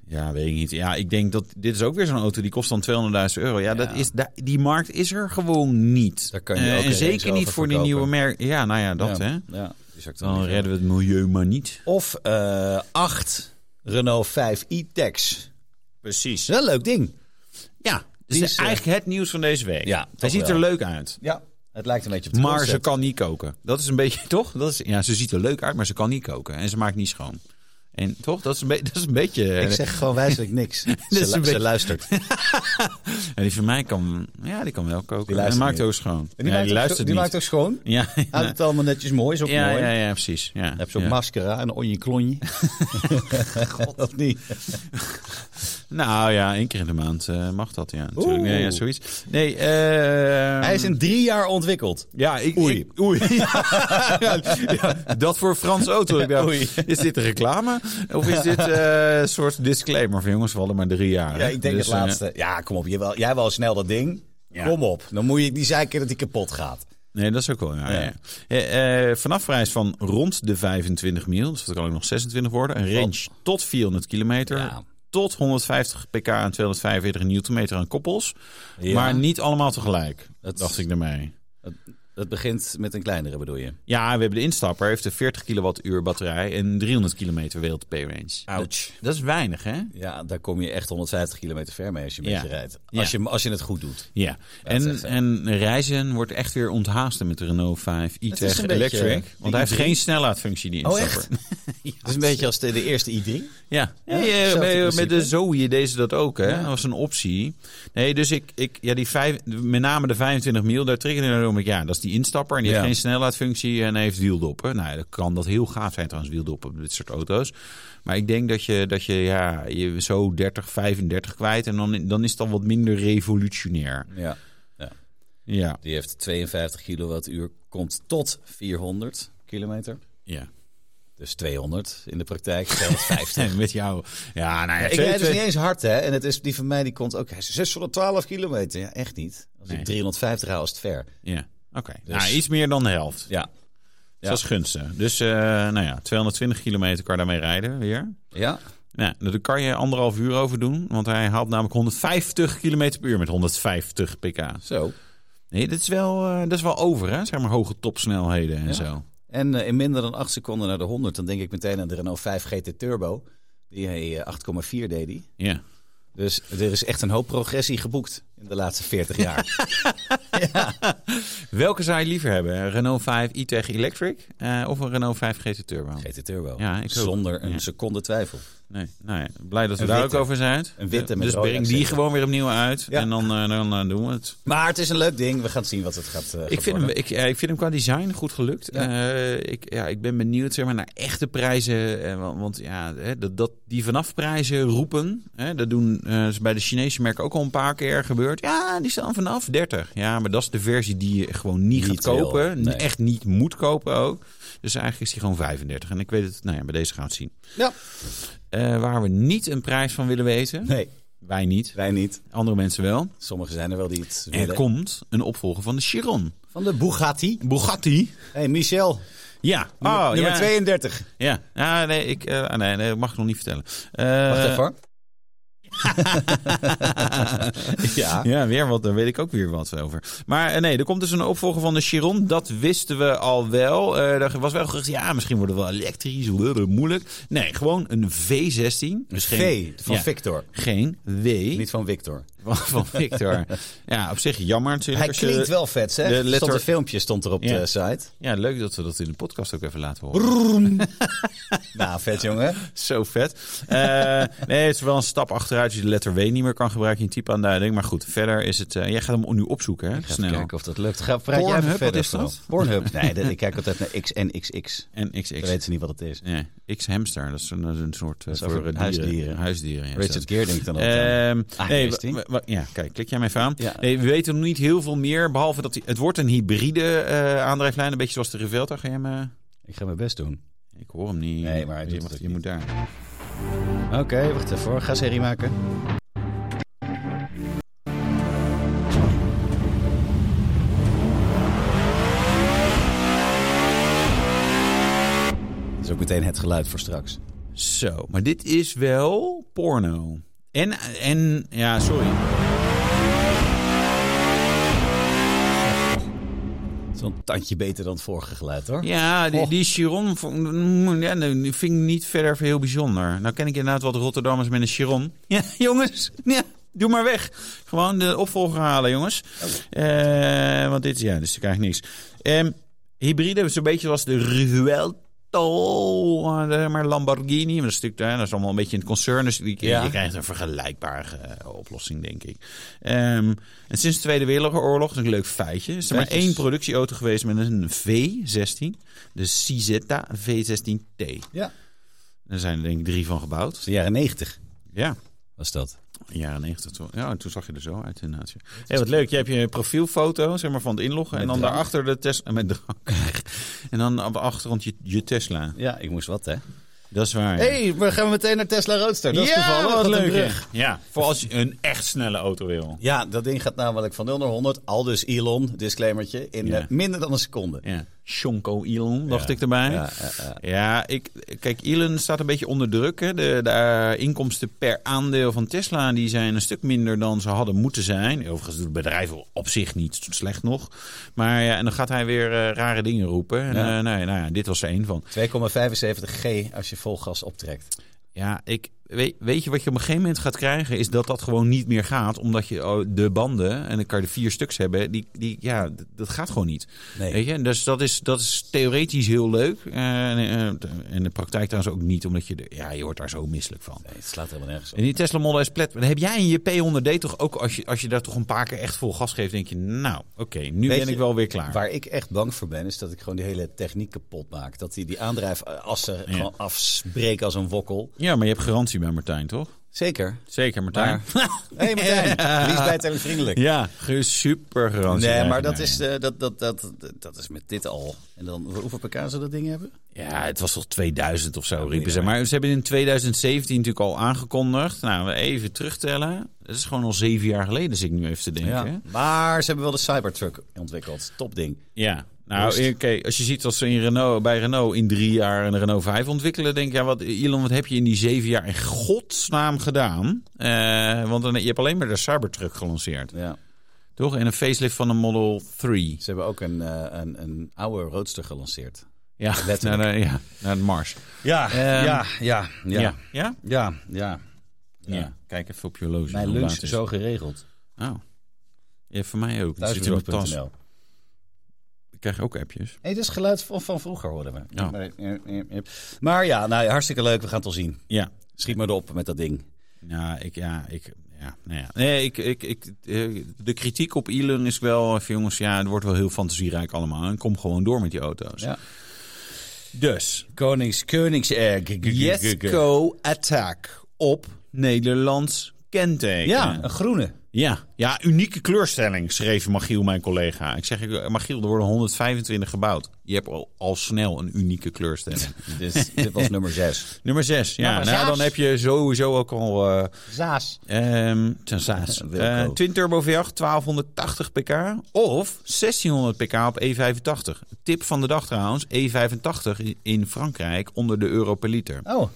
Speaker 2: Ja, weet ik niet. Ja, ik denk dat dit is ook weer zo'n auto die kost dan 200.000 euro. Ja, Dat is, da- die markt is er gewoon niet.
Speaker 1: Daar kan je
Speaker 2: Eh,
Speaker 1: ook
Speaker 2: en
Speaker 1: een
Speaker 2: zeker
Speaker 1: Range Rover
Speaker 2: niet voor die
Speaker 1: verkopen.
Speaker 2: nieuwe merk. Ja, nou ja, dat
Speaker 1: ja.
Speaker 2: hè.
Speaker 1: Ja, die zakt er
Speaker 2: Dan
Speaker 1: niet
Speaker 2: redden we het milieu maar niet.
Speaker 1: Of eh 8 Renault 5 e-Tex.
Speaker 2: Precies.
Speaker 1: Is wel een leuk ding.
Speaker 2: Ja, dus
Speaker 1: Die is, eh,
Speaker 2: eigenlijk het nieuws van deze week.
Speaker 1: Ja,
Speaker 2: Hij
Speaker 1: toch
Speaker 2: ziet
Speaker 1: wel.
Speaker 2: er leuk uit.
Speaker 1: Ja. Het lijkt een beetje op de
Speaker 2: Maar ze
Speaker 1: concept.
Speaker 2: kan niet koken. Dat is een beetje, (laughs) toch? Dat is, ja, ze ziet er leuk uit, maar ze kan niet koken. En ze maakt niet schoon. En toch? Dat is een, be- (laughs) dat is een beetje... eh,
Speaker 1: Ik zeg gewoon wijselijk
Speaker 2: (laughs)
Speaker 1: niks. ze,
Speaker 2: is
Speaker 1: lu-
Speaker 2: een
Speaker 1: ze
Speaker 2: beetje- (laughs)
Speaker 1: luistert. En
Speaker 2: Ja, die van mij kan... Ja, die kan wel koken.
Speaker 1: Die
Speaker 2: en
Speaker 1: luistert
Speaker 2: maakt
Speaker 1: niet.
Speaker 2: ook schoon.
Speaker 1: die
Speaker 2: ja,
Speaker 1: maakt
Speaker 2: die
Speaker 1: ook,
Speaker 2: luistert
Speaker 1: die
Speaker 2: niet.
Speaker 1: maakt ook schoon.
Speaker 2: (laughs) Ja,
Speaker 1: Houdt het allemaal netjes mooi, is ook
Speaker 2: ja,
Speaker 1: mooi.
Speaker 2: ja, ja, precies. Ja.
Speaker 1: Heb zo'n
Speaker 2: ja.
Speaker 1: mascara en een klonje.
Speaker 2: (laughs)
Speaker 1: of niet?
Speaker 2: Nou ja, één keer in de maand eh, mag dat, ja. Natuurlijk.
Speaker 1: Oeh.
Speaker 2: Nee, ja, zoiets. Nee, eh...
Speaker 1: Hij is in drie jaar ontwikkeld.
Speaker 2: Ja, ik,
Speaker 1: Oei.
Speaker 2: ik- oei. (laughs) Ja, ja, ja, dat voor Frans Auto. Ik dacht,
Speaker 1: Oei.
Speaker 2: Is dit een reclame? Of is dit eh, een soort disclaimer van jongens, we hadden maar drie jaar.
Speaker 1: Ja, ik denk
Speaker 2: Dus,
Speaker 1: het laatste. Ja, kom op. Jij wel, jij wel snel dat ding. Kom op. Dan moet je niet zeiken dat hij kapot gaat.
Speaker 2: eh, nee, dat is ook wel. Ja, ja. Eh, eh, vanaf prijs van rond de 25 mil, dus dat kan ook nog 26 worden. Een range tot 400 kilometer.
Speaker 1: Ja.
Speaker 2: Tot 150 pk en 245 newtonmeter aan koppels. Maar niet allemaal tegelijk.
Speaker 1: Dat-
Speaker 2: dacht ik daarmee.
Speaker 1: Dat begint met een kleinere, bedoel je?
Speaker 2: Ja, we hebben de instapper. Heeft een 40 kilowattuur batterij en 300 kilometer WLTP range.
Speaker 1: Ouch.
Speaker 2: Dat is weinig, hè?
Speaker 1: Ja, daar kom je echt 150 kilometer ver mee als je een
Speaker 2: Ja.
Speaker 1: beetje rijdt.
Speaker 2: Ja.
Speaker 1: Als, je, als je het goed doet.
Speaker 2: Ja.
Speaker 1: is
Speaker 2: En,
Speaker 1: echt zo.
Speaker 2: en reizen wordt echt weer onthaasten met de Renault 5
Speaker 1: Het is
Speaker 2: e-tech
Speaker 1: een beetje,
Speaker 2: Electric.
Speaker 1: eh,
Speaker 2: Want hij heeft geen snellaadfunctie, die
Speaker 1: Oh,
Speaker 2: instapper.
Speaker 1: (laughs) Het is een beetje als de, de eerste i3.
Speaker 2: Ja,
Speaker 1: Ja,
Speaker 2: Nee, eh,
Speaker 1: hetzelfde
Speaker 2: met,
Speaker 1: principe.
Speaker 2: met de Zoe deed ze dat ook, hè?
Speaker 1: Ja.
Speaker 2: Dat was een optie. Nee, dus ik, ik ja, die vijf, met name de 25 mil, daar triggerde ik om. Ja, dat is die instapper en die heeft
Speaker 1: Ja.
Speaker 2: geen snelheidfunctie en heeft wieldoppen. Nou, ja, dat kan dat heel gaaf zijn trouwens, wieldoppen op dit soort auto's. Maar ik denk dat je, dat je, ja, je zo 30, 35 kwijt en dan, dan is het al wat minder revolutionair.
Speaker 1: Ja.
Speaker 2: Ja,
Speaker 1: Die heeft 52 kilowattuur, komt tot 400 kilometer.
Speaker 2: ja.
Speaker 1: Dus 200 in de (laughs) praktijk, 250.
Speaker 2: (laughs) Met jou. Ja, nou ja,
Speaker 1: Ik
Speaker 2: twee-
Speaker 1: rijd dus
Speaker 2: twee-
Speaker 1: niet eens hard, hè? En het is, die van mij die komt ook hij is 612 kilometer. Ja, echt niet. Als
Speaker 2: Nee.
Speaker 1: ik 350 haal, is het ver.
Speaker 2: Ja, oké.
Speaker 1: Dus-
Speaker 2: Nou, iets meer dan de helft.
Speaker 1: Ja. Ja.
Speaker 2: Dat is gunstig. Dus eh, nou ja, 220 kilometer kan je daarmee rijden weer.
Speaker 1: Ja?
Speaker 2: Ja, daar kan je anderhalf uur over doen. Want hij haalt namelijk 150 kilometer per uur met 150 pk.
Speaker 1: Zo.
Speaker 2: Nee, dat is wel, eh, dat is wel over, hè? Zeg maar hoge topsnelheden en
Speaker 1: Ja.
Speaker 2: zo.
Speaker 1: En eh, in minder dan 8 seconden naar de 100, dan denk ik meteen aan de Renault 5 GT Turbo. Die hij eh, 8,4 deed die.
Speaker 2: Ja.
Speaker 1: Dus er is echt een hoop progressie geboekt in de laatste 40 jaar.
Speaker 2: Welke zou je liever hebben? Een Renault 5 e-tech Electric eh, of een Renault 5 GT Turbo?
Speaker 1: GT Turbo.
Speaker 2: Ja, ik ook.
Speaker 1: Zonder een
Speaker 2: Ja.
Speaker 1: seconde twijfel.
Speaker 2: Nee, nou ja, blij dat we
Speaker 1: Een
Speaker 2: daar
Speaker 1: witte.
Speaker 2: ook over zijn.
Speaker 1: Een witte met
Speaker 2: Dus
Speaker 1: rode
Speaker 2: breng die
Speaker 1: accenten.
Speaker 2: gewoon weer opnieuw uit
Speaker 1: Ja.
Speaker 2: en dan, eh, dan eh, doen we het.
Speaker 1: Maar het is een leuk ding. We gaan zien wat het gaat, eh, gaat
Speaker 2: Ik vind, hem,
Speaker 1: worden.
Speaker 2: ik, eh, ik vind hem qua design goed gelukt.
Speaker 1: Ja.
Speaker 2: Eh, ik, ja, ik ben benieuwd zeg maar, naar echte prijzen. Eh, want, want ja, hè, dat, dat die vanaf prijzen roepen. Hè, dat doen eh, is bij de Chinese merken ook al een paar keer gebeurd. Ja, die staan vanaf 30. Ja, maar dat is de versie die je gewoon niet,
Speaker 1: Niet
Speaker 2: gaat
Speaker 1: wil,
Speaker 2: kopen.
Speaker 1: nee.
Speaker 2: Echt niet moet kopen ook. Dus eigenlijk is die gewoon 35. En ik weet het, nou ja, bij deze gaan we het zien.
Speaker 1: Ja.
Speaker 2: Eh, waar we niet een prijs van willen weten.
Speaker 1: Nee,
Speaker 2: Wij niet.
Speaker 1: wij niet.
Speaker 2: Andere mensen wel.
Speaker 1: Sommigen zijn er wel die het
Speaker 2: Er
Speaker 1: willen.
Speaker 2: komt een opvolger van de Chiron.
Speaker 1: Van de Bugatti.
Speaker 2: Bugatti.
Speaker 1: hey, Michel.
Speaker 2: Ja.
Speaker 1: Nummer,
Speaker 2: Oh,
Speaker 1: nummer
Speaker 2: ja.
Speaker 1: 32.
Speaker 2: Ja, ah, nee, ik, eh, ah, nee, nee, dat mag ik nog niet vertellen. Eh,
Speaker 1: Wacht even hoor. ja.
Speaker 2: (laughs) Ja, weer wat, daar weet ik ook weer wat over. Maar eh, nee, er komt dus een opvolger van de Chiron. Dat wisten we al wel. Eh er was wel gezegd, ja, misschien wordt het wel elektrisch, blubber, moeilijk. Nee, gewoon een V16. Dus geen,
Speaker 1: V van
Speaker 2: ja,
Speaker 1: Victor.
Speaker 2: Geen W
Speaker 1: Niet van Victor.
Speaker 2: van, (laughs) van Victor. ja, op zich jammer natuurlijk.
Speaker 1: Hij
Speaker 2: als je-
Speaker 1: klinkt wel vet, zeg.
Speaker 2: de
Speaker 1: Er Stond
Speaker 2: letter-
Speaker 1: een filmpje stond er op
Speaker 2: Ja.
Speaker 1: de site.
Speaker 2: Ja, leuk dat we dat in de podcast ook even laten horen.
Speaker 1: (laughs) Nou, vet jongen.
Speaker 2: Zo vet. Eh, (laughs) nee, het is wel een stap achteruit als je de letter W niet meer kan gebruiken in typeaanduiding. Maar goed, verder is het... eh, jij gaat hem nu opzoeken, hè?
Speaker 1: Even
Speaker 2: Snel.
Speaker 1: kijken of dat lukt. Ga praat jij
Speaker 2: Pornhub,
Speaker 1: even
Speaker 2: wat
Speaker 1: verder.
Speaker 2: is dat?
Speaker 1: vooral. Pornhub. Nee, dat- ik kijk altijd naar X en XX.
Speaker 2: En
Speaker 1: Dan
Speaker 2: XX.
Speaker 1: weten ze niet wat het is.
Speaker 2: Nee, X-hamster. Dat is een, dat is een soort... eh,
Speaker 1: is over
Speaker 2: voor, eh, dieren.
Speaker 1: huisdieren.
Speaker 2: Huisdieren, ja,
Speaker 1: Richard Gere denkt dan altijd. aan.
Speaker 2: Ehm,
Speaker 1: Ah,
Speaker 2: nee,
Speaker 1: hier is die.
Speaker 2: wa- wa- ja, kijk, klik jij mij even aan.
Speaker 1: Ja.
Speaker 2: Nee, we weten nog niet heel veel meer, behalve dat die- het wordt een hybride eh aandrijflijn. Een beetje zoals de Revelta. Ga je hem... eh,
Speaker 1: Ik ga mijn best doen.
Speaker 2: ik hoor hem niet.
Speaker 1: Nee, maar hij
Speaker 2: je,
Speaker 1: doet
Speaker 2: mag-
Speaker 1: het ook
Speaker 2: je moet daar.
Speaker 1: Oké, wacht even hoor. Ga serie maken. Dat is ook meteen het geluid voor straks.
Speaker 2: Zo, maar dit is wel porno. En, en ja, sorry.
Speaker 1: Zo'n tandje beter dan het vorige geluid hoor.
Speaker 2: Ja, die,
Speaker 1: Och.
Speaker 2: die Chiron vond, mm, ja, nee, die vind ik niet verder heel bijzonder. Nou ken ik inderdaad wat Rotterdammers met een Chiron. (laughs) Ja, jongens, ja, doe maar weg. Gewoon de opvolger halen, jongens. Eh, want dit, ja, dus ik krijg niks. Ehm, hybride, zo'n beetje zoals de Ruelto, eh, maar Lamborghini. Maar dat is, natuurlijk, eh, dat is allemaal een beetje een concern. Dus die,
Speaker 1: Ja.
Speaker 2: je krijgt een vergelijkbare eh, oplossing, denk ik. Ehm, en sinds de Tweede Wereldoorlog, dat is een leuk feitje, is er maar
Speaker 1: Feitjes.
Speaker 2: één productieauto geweest met een V16. De Sizetta V16T.
Speaker 1: Ja.
Speaker 2: Er zijn er denk ik drie van gebouwd.
Speaker 1: De jaren 90
Speaker 2: Ja,
Speaker 1: was dat.
Speaker 2: jaren 90. toen- Ja, toen zag je er zo uit inderdaad. ja. Hé, wat leuk. Je hebt je profielfoto zeg maar, van het inloggen.
Speaker 1: Met
Speaker 2: en dan
Speaker 1: drank.
Speaker 2: daarachter de Tesla. Met drank. (laughs) en dan op de achtergrond je, je Tesla.
Speaker 1: Ja, ik moest wat hè.
Speaker 2: Dat is waar. ja.
Speaker 1: hey, we gaan meteen naar Tesla Roadster. Dat is toevallig.
Speaker 2: wat
Speaker 1: een
Speaker 2: leuk.
Speaker 1: brug.
Speaker 2: ja. Ja, voor als je een echt snelle auto wil.
Speaker 1: Ja, dat ding gaat namelijk van 0 naar 100. Al dus Elon, disclaimertje, in
Speaker 2: Ja.
Speaker 1: eh, minder dan een seconde.
Speaker 2: Ja. Shonko Elon, dacht
Speaker 1: Ja.
Speaker 2: ik erbij.
Speaker 1: Ja,
Speaker 2: Ja,
Speaker 1: ja, ja.
Speaker 2: ik, kijk, Elon staat een beetje onder druk. Hè. De, de eh, inkomsten per aandeel van Tesla die zijn een stuk minder dan ze hadden moeten zijn. Overigens doet het bedrijf op zich niet slecht nog. Maar ja, en dan gaat hij weer eh, rare dingen roepen. En,
Speaker 1: Ja.
Speaker 2: eh, nou, ja, nou ja, dit was er één van.
Speaker 1: 2,75 G als je vol gas optrekt.
Speaker 2: Ja, ik, weet, weet je wat je op een gegeven moment gaat krijgen? Is dat dat gewoon niet meer gaat. Omdat je oh, de banden, en dan kan je er vier stuks hebben, die, die, ja, d- dat gaat gewoon niet.
Speaker 1: Nee.
Speaker 2: Weet je? Dus dat is, dat is theoretisch heel leuk. Eh, En eh, in de praktijk trouwens ook niet, omdat je, er- ja, je wordt daar zo misselijk van.
Speaker 1: Nee, het slaat helemaal nergens op.
Speaker 2: En die Tesla Model S Plat, dan heb jij in je P100D toch ook, als je, als je daar toch een paar keer echt vol gas geeft, denk je, nou, oké, nu
Speaker 1: Weet
Speaker 2: ben
Speaker 1: je,
Speaker 2: ik wel weer klaar.
Speaker 1: Waar ik echt bang voor ben, is dat ik gewoon die hele techniek kapot maak. Dat die, die aandrijfassen gewoon afbreken als een wokkel.
Speaker 2: Ja, maar je hebt garantie bij Martijn, toch?
Speaker 1: Zeker.
Speaker 2: Zeker, Martijn.
Speaker 1: Hé (laughs) hey Martijn, die is bijtellingsvriendelijk.
Speaker 2: ja, ge- super garantie.
Speaker 1: Nee, maar dat
Speaker 2: eigenlijk. Nou,
Speaker 1: is, eh, dat, dat, dat, dat is met dit al. En dan, hoeveel pk ze dat ding hebben?
Speaker 2: Ja, het was toch 2000 of zo, riepen ze. Maar ze hebben in 2017 natuurlijk al aangekondigd. Nou, we even terugtellen. Dat is gewoon al zeven jaar geleden, zit ik nu even te denken. Ja.
Speaker 1: Maar ze hebben wel de Cybertruck ontwikkeld. Topding.
Speaker 2: Nou,
Speaker 1: Rust.
Speaker 2: oké, als je ziet wat ze in Renault, bij Renault in drie jaar een Renault 5 ontwikkelen, denk je, ja, wat, Elon, wat heb je in die zeven jaar in godsnaam gedaan? Eh, want dan, je hebt alleen maar de Cybertruck gelanceerd,
Speaker 1: Ja.
Speaker 2: toch? En een facelift van een Model 3.
Speaker 1: Ze hebben ook een, eh, een, een oude Roadster gelanceerd.
Speaker 2: Ja, naar
Speaker 1: Letterlijk.
Speaker 2: de, ja, naar de Mars.
Speaker 1: Ja, ja, ja, ja,
Speaker 2: Ja.
Speaker 1: ja,
Speaker 2: Ja?
Speaker 1: ja,
Speaker 2: Ja. Kijk even op je horloge.
Speaker 1: Mijn
Speaker 2: hoe
Speaker 1: lunch
Speaker 2: laat het is.
Speaker 1: zo geregeld.
Speaker 2: Oh. Ja, voor mij ook. Zit in mijn tas.
Speaker 1: Thuisbezorgd.nl.
Speaker 2: Ik krijg ook appjes.
Speaker 1: Hey, dit is geluid van, van vroeger, hoorden we.
Speaker 2: Ja.
Speaker 1: Maar, maar ja, nou, ja, hartstikke leuk. We gaan het wel zien.
Speaker 2: Ja.
Speaker 1: Schiet maar op met dat ding.
Speaker 2: Ja, ik, ja, ik, ja, nou ja. Nee, ik, ik, ik, eh, de kritiek op Elon is wel, even jongens, ja, het wordt wel heel fantasierijk allemaal. En kom gewoon door met die auto's.
Speaker 1: Ja.
Speaker 2: Dus,
Speaker 1: Konings, Koningsegg.
Speaker 2: Jetco Attack op Nederlands kenteken.
Speaker 1: Ja, een groene.
Speaker 2: Ja, ja, unieke kleurstelling, schreef Magiel, mijn collega. Ik zeg, eh, Magiel, er worden 125 gebouwd. Je hebt al, al snel een unieke (laughs) kleurstelling.
Speaker 1: Dus dit was nummer 6.
Speaker 2: Nummer 6, ja.
Speaker 1: Nummer
Speaker 2: nou,
Speaker 1: zes.
Speaker 2: dan heb je sowieso ook al... eh,
Speaker 1: (laughs) Zaas.
Speaker 2: Ehm sensaas.
Speaker 1: Wilco.
Speaker 2: Eh, Twin Turbo V8, 1280 pk of 1600 pk op E85. Tip van de dag trouwens, E85 in- in Frankrijk onder de euro per liter.
Speaker 1: Oh. Dus-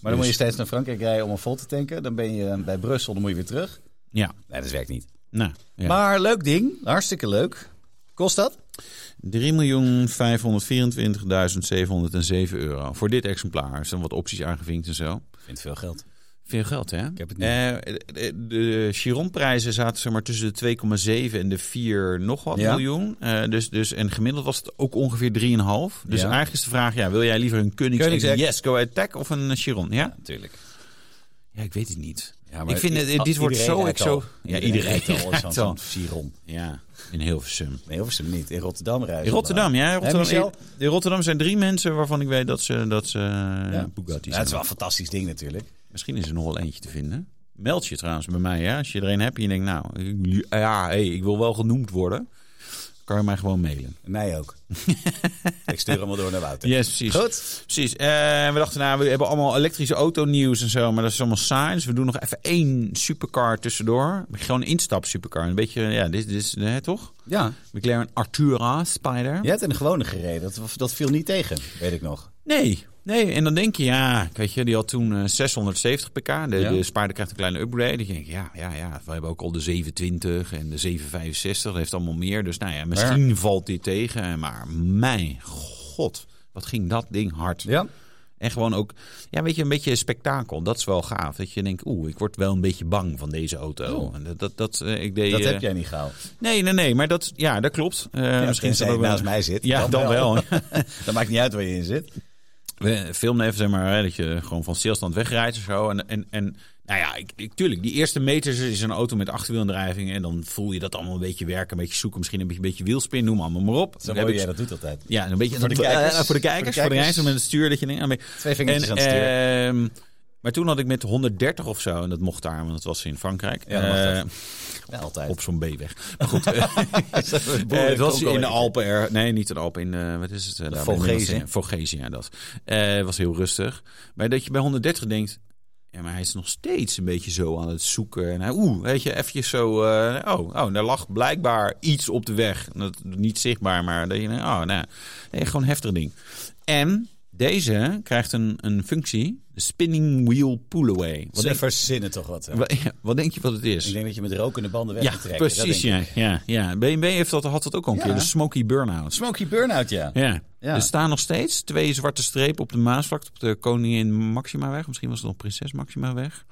Speaker 1: Maar dan moet je steeds naar Frankrijk rijden om een vol te tanken. Dan ben je eh, bij Brussel, dan moet je weer terug.
Speaker 2: Ja,
Speaker 1: Nee, dat werkt niet.
Speaker 2: nou. Ja.
Speaker 1: Maar leuk ding. Hartstikke leuk. Kost dat?
Speaker 2: 3.524.707 euro voor dit exemplaar. Er zijn wat opties aangevinkt en zo.
Speaker 1: Ik vind veel geld.
Speaker 2: Veel geld, hè? Ik
Speaker 1: heb het niet.
Speaker 2: niet. de, de Chiron-prijzen zaten zeg maar, tussen de 2,7 en de 4 nog wat
Speaker 1: Ja.
Speaker 2: miljoen. Eh, dus, dus, en gemiddeld was het ook ongeveer 3,5. Dus
Speaker 1: Ja.
Speaker 2: eigenlijk is de vraag, ja, wil jij liever een Koenigsegg
Speaker 1: Koenigsegg.
Speaker 2: Jesko Attack of een eh, Chiron? Ja?
Speaker 1: Natuurlijk.
Speaker 2: ja, ik weet het niet.
Speaker 1: Ja,
Speaker 2: ik vind, het, dit wordt zo... Ik zo ja, iedereen (laughs) rijdt al.
Speaker 1: Zo'n Chiron.
Speaker 2: Ja, in Hilversum.
Speaker 1: Nee, hoeft ze hem niet. In Rotterdam rijden.
Speaker 2: In Rotterdam, ja. in Rotterdam,
Speaker 1: Michel?
Speaker 2: in, in Rotterdam zijn drie mensen waarvan ik weet dat ze, dat ze
Speaker 1: Ja.
Speaker 2: ja.
Speaker 1: Ja,
Speaker 2: Bugatti
Speaker 1: dat
Speaker 2: zijn.
Speaker 1: is wel een fantastisch ding natuurlijk.
Speaker 2: Misschien is er nog wel eentje te vinden. Meld je trouwens bij mij, hè? Als je er een hebt en je denkt, nou, ik- ja, hey, ik wil wel genoemd worden. Kan je mij gewoon mailen.
Speaker 1: En Mij
Speaker 2: (laughs)
Speaker 1: ook. ik stuur hem wel door naar Wouter.
Speaker 2: Yes, precies.
Speaker 1: Goed.
Speaker 2: Precies. Eh, we dachten, nou, we hebben allemaal elektrische autonieuws en zo, maar dat is allemaal saai. Dus we doen nog even één supercar tussendoor. Gewoon een instap supercar. Een beetje, ja, dit, dit is, hè, toch?
Speaker 1: Ja.
Speaker 2: McLaren Artura Spider.
Speaker 1: Je hebt in de gewone gereden. Dat, dat viel niet tegen, weet ik nog.
Speaker 2: Nee, nee. En dan denk je, ja, ik weet je, die had toen eh, 670 pk. De,
Speaker 1: Ja.
Speaker 2: de spaarder krijgt een kleine upgrade. Dan denk je, ja, ja, ja. We hebben ook al de 720 en de 765. Dat heeft allemaal meer. Dus nou ja, misschien valt dit tegen. Maar mijn god, wat ging dat ding hard.
Speaker 1: Ja.
Speaker 2: En gewoon ook, ja, weet je, een beetje spektakel. Dat is wel gaaf. Dat je denkt, oeh, ik word wel een beetje bang van deze auto.
Speaker 1: Oh.
Speaker 2: En dat, dat, dat, eh, ik deed,
Speaker 1: Dat
Speaker 2: eh,
Speaker 1: heb jij niet gehaald.
Speaker 2: Nee, nee, nee. Maar dat, ja, dat klopt. Eh,
Speaker 1: misschien
Speaker 2: is dat
Speaker 1: zij
Speaker 2: ook wel-
Speaker 1: naast mij zit.
Speaker 2: Ja, dan,
Speaker 1: Dan wel. (laughs)
Speaker 2: wel.
Speaker 1: (laughs) Dat maakt niet uit waar je in zit.
Speaker 2: We filmden even, zeg maar, hè, dat je gewoon van stilstand wegrijdt en zo. En, en, en nou ja, ik, ik, tuurlijk, die eerste meters is een auto met achterwielaandrijving. En dan voel je dat allemaal een beetje werken, een beetje zoeken. Misschien een beetje, een beetje wielspin, noem allemaal maar op.
Speaker 1: Zo
Speaker 2: Dan heb
Speaker 1: mooi
Speaker 2: ik-
Speaker 1: jij dat doet altijd.
Speaker 2: Ja, een beetje
Speaker 1: Voor de kijkers.
Speaker 2: Eh, voor de kijkers, voor de
Speaker 1: kijkers.
Speaker 2: reiziger met het stuur. Dat je denkt, ah, maar-
Speaker 1: Twee vingertjes
Speaker 2: en,
Speaker 1: aan het stuur.
Speaker 2: ehm, maar toen had ik met 130 of zo, en dat mocht daar, want dat was in Frankrijk.
Speaker 1: Ja, dat mag
Speaker 2: eh,
Speaker 1: dat. Ja, altijd. (laughs)
Speaker 2: op zo'n B-weg. Maar goed, eh,
Speaker 1: Eh,
Speaker 2: eh, het was in de Alpen. Er, nee, niet in de Alpen. In, eh, wat is het? eh, daar bij
Speaker 1: Vogezen.
Speaker 2: Nederlandse- Vogezen, ja, dat. Eh, was heel rustig. Maar dat je bij 130 denkt... Ja, maar hij is nog steeds een beetje zo aan het zoeken. En hij, oeh, weet je, eventjes zo... eh, oh, oh, daar lag blijkbaar iets op de weg. En Dat, niet zichtbaar, maar dat je... denkt, Oh, nou, nee, gewoon een heftig ding. En deze krijgt een, een functie. de Spinning wheel pull-away. Wat,
Speaker 1: Ze
Speaker 2: denk-
Speaker 1: verzinnen toch wat. hè?
Speaker 2: wa- ja, wat (laughs) denk je wat het is?
Speaker 1: Ik denk dat je met rokende banden weg
Speaker 2: Ja,
Speaker 1: moet trekken. dat
Speaker 2: precies.
Speaker 1: denk ik.
Speaker 2: Ja, ja, ja. BMW heeft dat, had dat ook al een
Speaker 1: Ja.
Speaker 2: keer. De smoky burn-out.
Speaker 1: Smoky Burnout, ja.
Speaker 2: Ja.
Speaker 1: Ja.
Speaker 2: Er staan nog steeds twee zwarte strepen op de Maasvlakte. Op de Koningin Maximaweg. Misschien was het nog Prinses Maximaweg.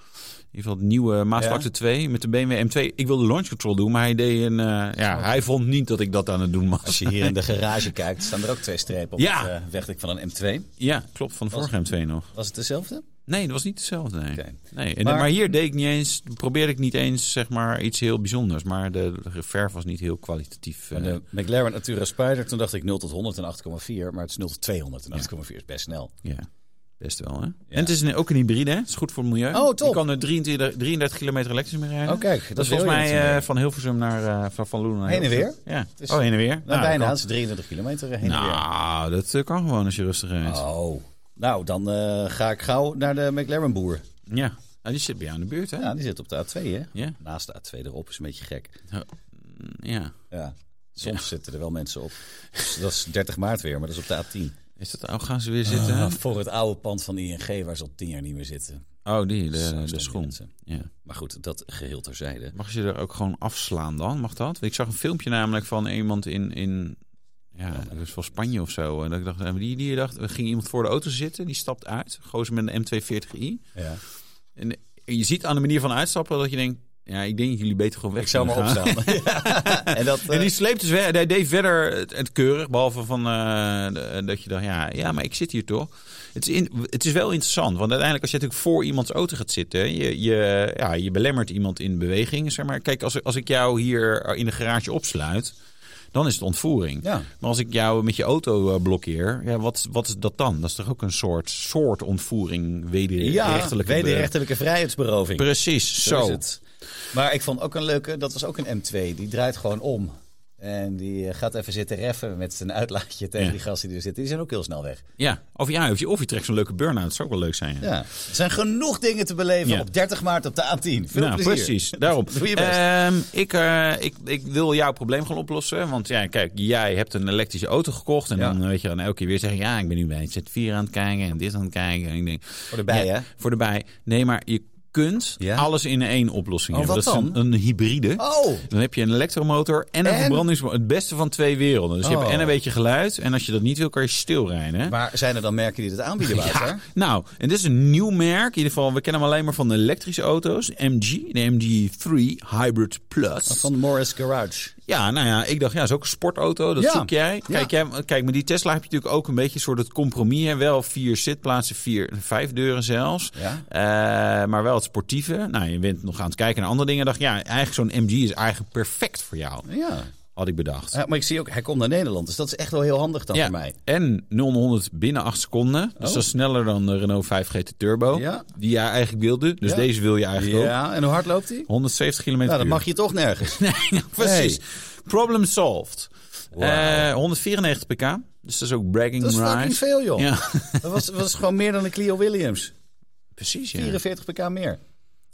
Speaker 2: In ieder geval de nieuwe Maasvlakte
Speaker 1: Ja.
Speaker 2: 2 met de BMW M2. Ik wilde launch control doen, maar hij deed een... eh, ja, hij vond niet dat ik dat aan het doen
Speaker 1: Als
Speaker 2: was.
Speaker 1: je hier in de garage kijkt, staan er ook twee strepen op
Speaker 2: Ja.
Speaker 1: het eh, wegdek van een M2.
Speaker 2: Ja, klopt. Van de vorige M2 nog.
Speaker 1: Was het dezelfde?
Speaker 2: Nee, dat was niet hetzelfde. Nee.
Speaker 1: Oké.
Speaker 2: Nee. En, maar,
Speaker 1: Maar-
Speaker 2: hier deed ik niet eens, probeerde ik niet eens zeg maar, iets heel bijzonders. Maar de verf was niet heel kwalitatief.
Speaker 1: Maar
Speaker 2: eh.
Speaker 1: de McLaren Natura Spider, toen dacht ik 0 tot 100 en 8,4. Maar het is 0 tot 200 en 8,4 is best snel.
Speaker 2: Ja, best wel hè. En het is een, ook een hybride, hè? Het is goed voor het milieu.
Speaker 1: Oh, top.
Speaker 2: Je kan er 23, 33 kilometer elektrisch mee rijden.
Speaker 1: Oh, kijk, dat
Speaker 2: dat is
Speaker 1: wil
Speaker 2: volgens
Speaker 1: je
Speaker 2: mij
Speaker 1: natuurlijk.
Speaker 2: eh, van Hilversum naar eh, van, van Loenen naar
Speaker 1: Heen en
Speaker 2: Hilversum. Ja.
Speaker 1: is-
Speaker 2: oh, heen en weer. Nou,
Speaker 1: Nou,
Speaker 2: dat
Speaker 1: bijna.
Speaker 2: kan.
Speaker 1: Het is 33 kilometer heen en weer.
Speaker 2: Nou, dat eh, kan gewoon als je rustig rijdt.
Speaker 1: Oh. Nou, dan eh, ga ik gauw naar de McLaren boer.
Speaker 2: Ja. Ah, die zit bij jou in de buurt, hè?
Speaker 1: Ja, die zit op de A2, hè?
Speaker 2: Ja.
Speaker 1: Naast de A2 erop is een beetje gek.
Speaker 2: Ja.
Speaker 1: Ja. Soms zitten er wel mensen op. Dus dat is 30 maart weer, maar dat is op de A10.
Speaker 2: Is dat ook gaan ze weer zitten?
Speaker 1: Ah, voor het oude pand van ING, waar ze al 10 jaar niet meer zitten.
Speaker 2: Oh, die,
Speaker 1: Zo
Speaker 2: de, de
Speaker 1: staan die
Speaker 2: schoen.
Speaker 1: mensen.
Speaker 2: Ja.
Speaker 1: Maar goed, dat geheel terzijde.
Speaker 2: Mag je er ook gewoon afslaan dan? Mag dat? Ik zag een filmpje namelijk van iemand in. in ja, dat is van Spanje of zo. En dat ik dacht, eh, die, die dacht, er ging iemand voor de auto zitten, die stapt uit. Gozer met een M240i.
Speaker 1: Ja.
Speaker 2: En je ziet aan de manier van uitstappen dat je denkt, ja, ik denk dat jullie beter gewoon weg
Speaker 1: Ik zou maar
Speaker 2: kunnen gaan.
Speaker 1: opstaan.
Speaker 2: (laughs)
Speaker 1: Ja. En dat, eh,
Speaker 2: En die sleept dus weg. Hij deed verder het, het keurig. Behalve van, eh, de- dat je dacht, ja, ja, maar ik zit hier toch. Het is, in, het is wel interessant. Want uiteindelijk als je natuurlijk voor iemands auto gaat zitten... je, je, ja, je belemmert iemand in beweging. Zeg maar. Kijk, als, als ik jou hier in de garage opsluit... dan is het ontvoering.
Speaker 1: Ja.
Speaker 2: Maar als ik jou met je auto eh, blokkeer... Ja, wat, wat is dat dan? Dat is toch ook een soort, soort ontvoering... wederrechtelijke...
Speaker 1: eh, ja, wederrechtelijke vrijheidsberoving.
Speaker 2: Precies,
Speaker 1: Zo
Speaker 2: zo.
Speaker 1: is het. Maar ik vond ook een leuke, dat was ook een M2. Die draait gewoon om. En die eh, gaat even zitten reffen met zijn uitlaatje tegen
Speaker 2: Ja.
Speaker 1: die gasten die er zitten. Die zijn ook heel snel weg.
Speaker 2: Ja, of, ja, of je, of je trekt zo'n leuke burn-out. Dat zou ook wel leuk zijn.
Speaker 1: Ja. Er zijn genoeg dingen te beleven
Speaker 2: Ja.
Speaker 1: op 30 maart op de A10. Veel
Speaker 2: nou,
Speaker 1: plezier.
Speaker 2: precies. Daarom.
Speaker 1: (laughs) Doe je best.
Speaker 2: Ehm, ik, eh, ik, ik wil jouw probleem gaan oplossen. Want ja, kijk, jij hebt een elektrische auto gekocht. En
Speaker 1: Ja.
Speaker 2: dan eh, weet je dan elke keer weer zeggen... ja, ik ben nu bij het Z4 aan het kijken en dit aan het kijken. En ik denk,
Speaker 1: Voor de bij,
Speaker 2: ja,
Speaker 1: hè?
Speaker 2: Voor de bij. Nee, maar je kunt
Speaker 1: Ja.
Speaker 2: alles in één oplossing
Speaker 1: Oh,
Speaker 2: hebben.
Speaker 1: wat
Speaker 2: dat is
Speaker 1: dan?
Speaker 2: een, een hybride.
Speaker 1: Oh.
Speaker 2: Dan heb je een elektromotor en een
Speaker 1: En?
Speaker 2: verbrandingsmotor. Het beste van twee werelden. Dus je hebt
Speaker 1: Oh.
Speaker 2: en een beetje geluid. En als je dat niet wil, kan je stilrijden. hè?
Speaker 1: Maar zijn er dan merken die dat aanbieden, Wouter?
Speaker 2: (laughs) Ja, nou, en dit is een nieuw merk. In ieder geval, we kennen hem alleen maar van de elektrische auto's. MG, de MG3 Hybrid Plus.
Speaker 1: Oh, Van Morris Garage.
Speaker 2: Ja, nou ja, ik dacht, ja, is ook een sportauto. Dat
Speaker 1: Ja.
Speaker 2: zoek jij. Kijk, jij. kijk, met die Tesla heb je natuurlijk ook een beetje een soort het compromis. Hè? Wel vier zitplaatsen, vier, vijf deuren zelfs.
Speaker 1: Ja.
Speaker 2: Eh, maar wel het sportieve. Nou, je bent nog aan het kijken naar andere dingen. dacht, ja, eigenlijk zo'n MG is eigenlijk perfect voor jou.
Speaker 1: Ja.
Speaker 2: Had ik bedacht.
Speaker 1: Ja, Maar ik zie ook, hij komt naar Nederland. Dus dat is echt wel heel handig dan voor mij.
Speaker 2: En 0-100 binnen 8 seconden. Dus
Speaker 1: Oh.
Speaker 2: dat is sneller dan de Renault 5 GT Turbo.
Speaker 1: Ja.
Speaker 2: Die jij eigenlijk wilde. Dus
Speaker 1: Ja.
Speaker 2: deze wil je eigenlijk ook.
Speaker 1: Ja, en hoe hard loopt hij?
Speaker 2: 170 kilometer
Speaker 1: Nou, dan
Speaker 2: per
Speaker 1: mag je toch nergens.
Speaker 2: (laughs) uur. Nee, nou, precies. Problem solved.
Speaker 1: Wauw.
Speaker 2: Eh, 194 pk. Dus dat is ook bragging
Speaker 1: Dat is
Speaker 2: rights.
Speaker 1: fucking veel, joh. (laughs)
Speaker 2: Ja,
Speaker 1: Dat was, was gewoon meer dan een Clio Williams.
Speaker 2: precies. Ja.
Speaker 1: 44 pk meer.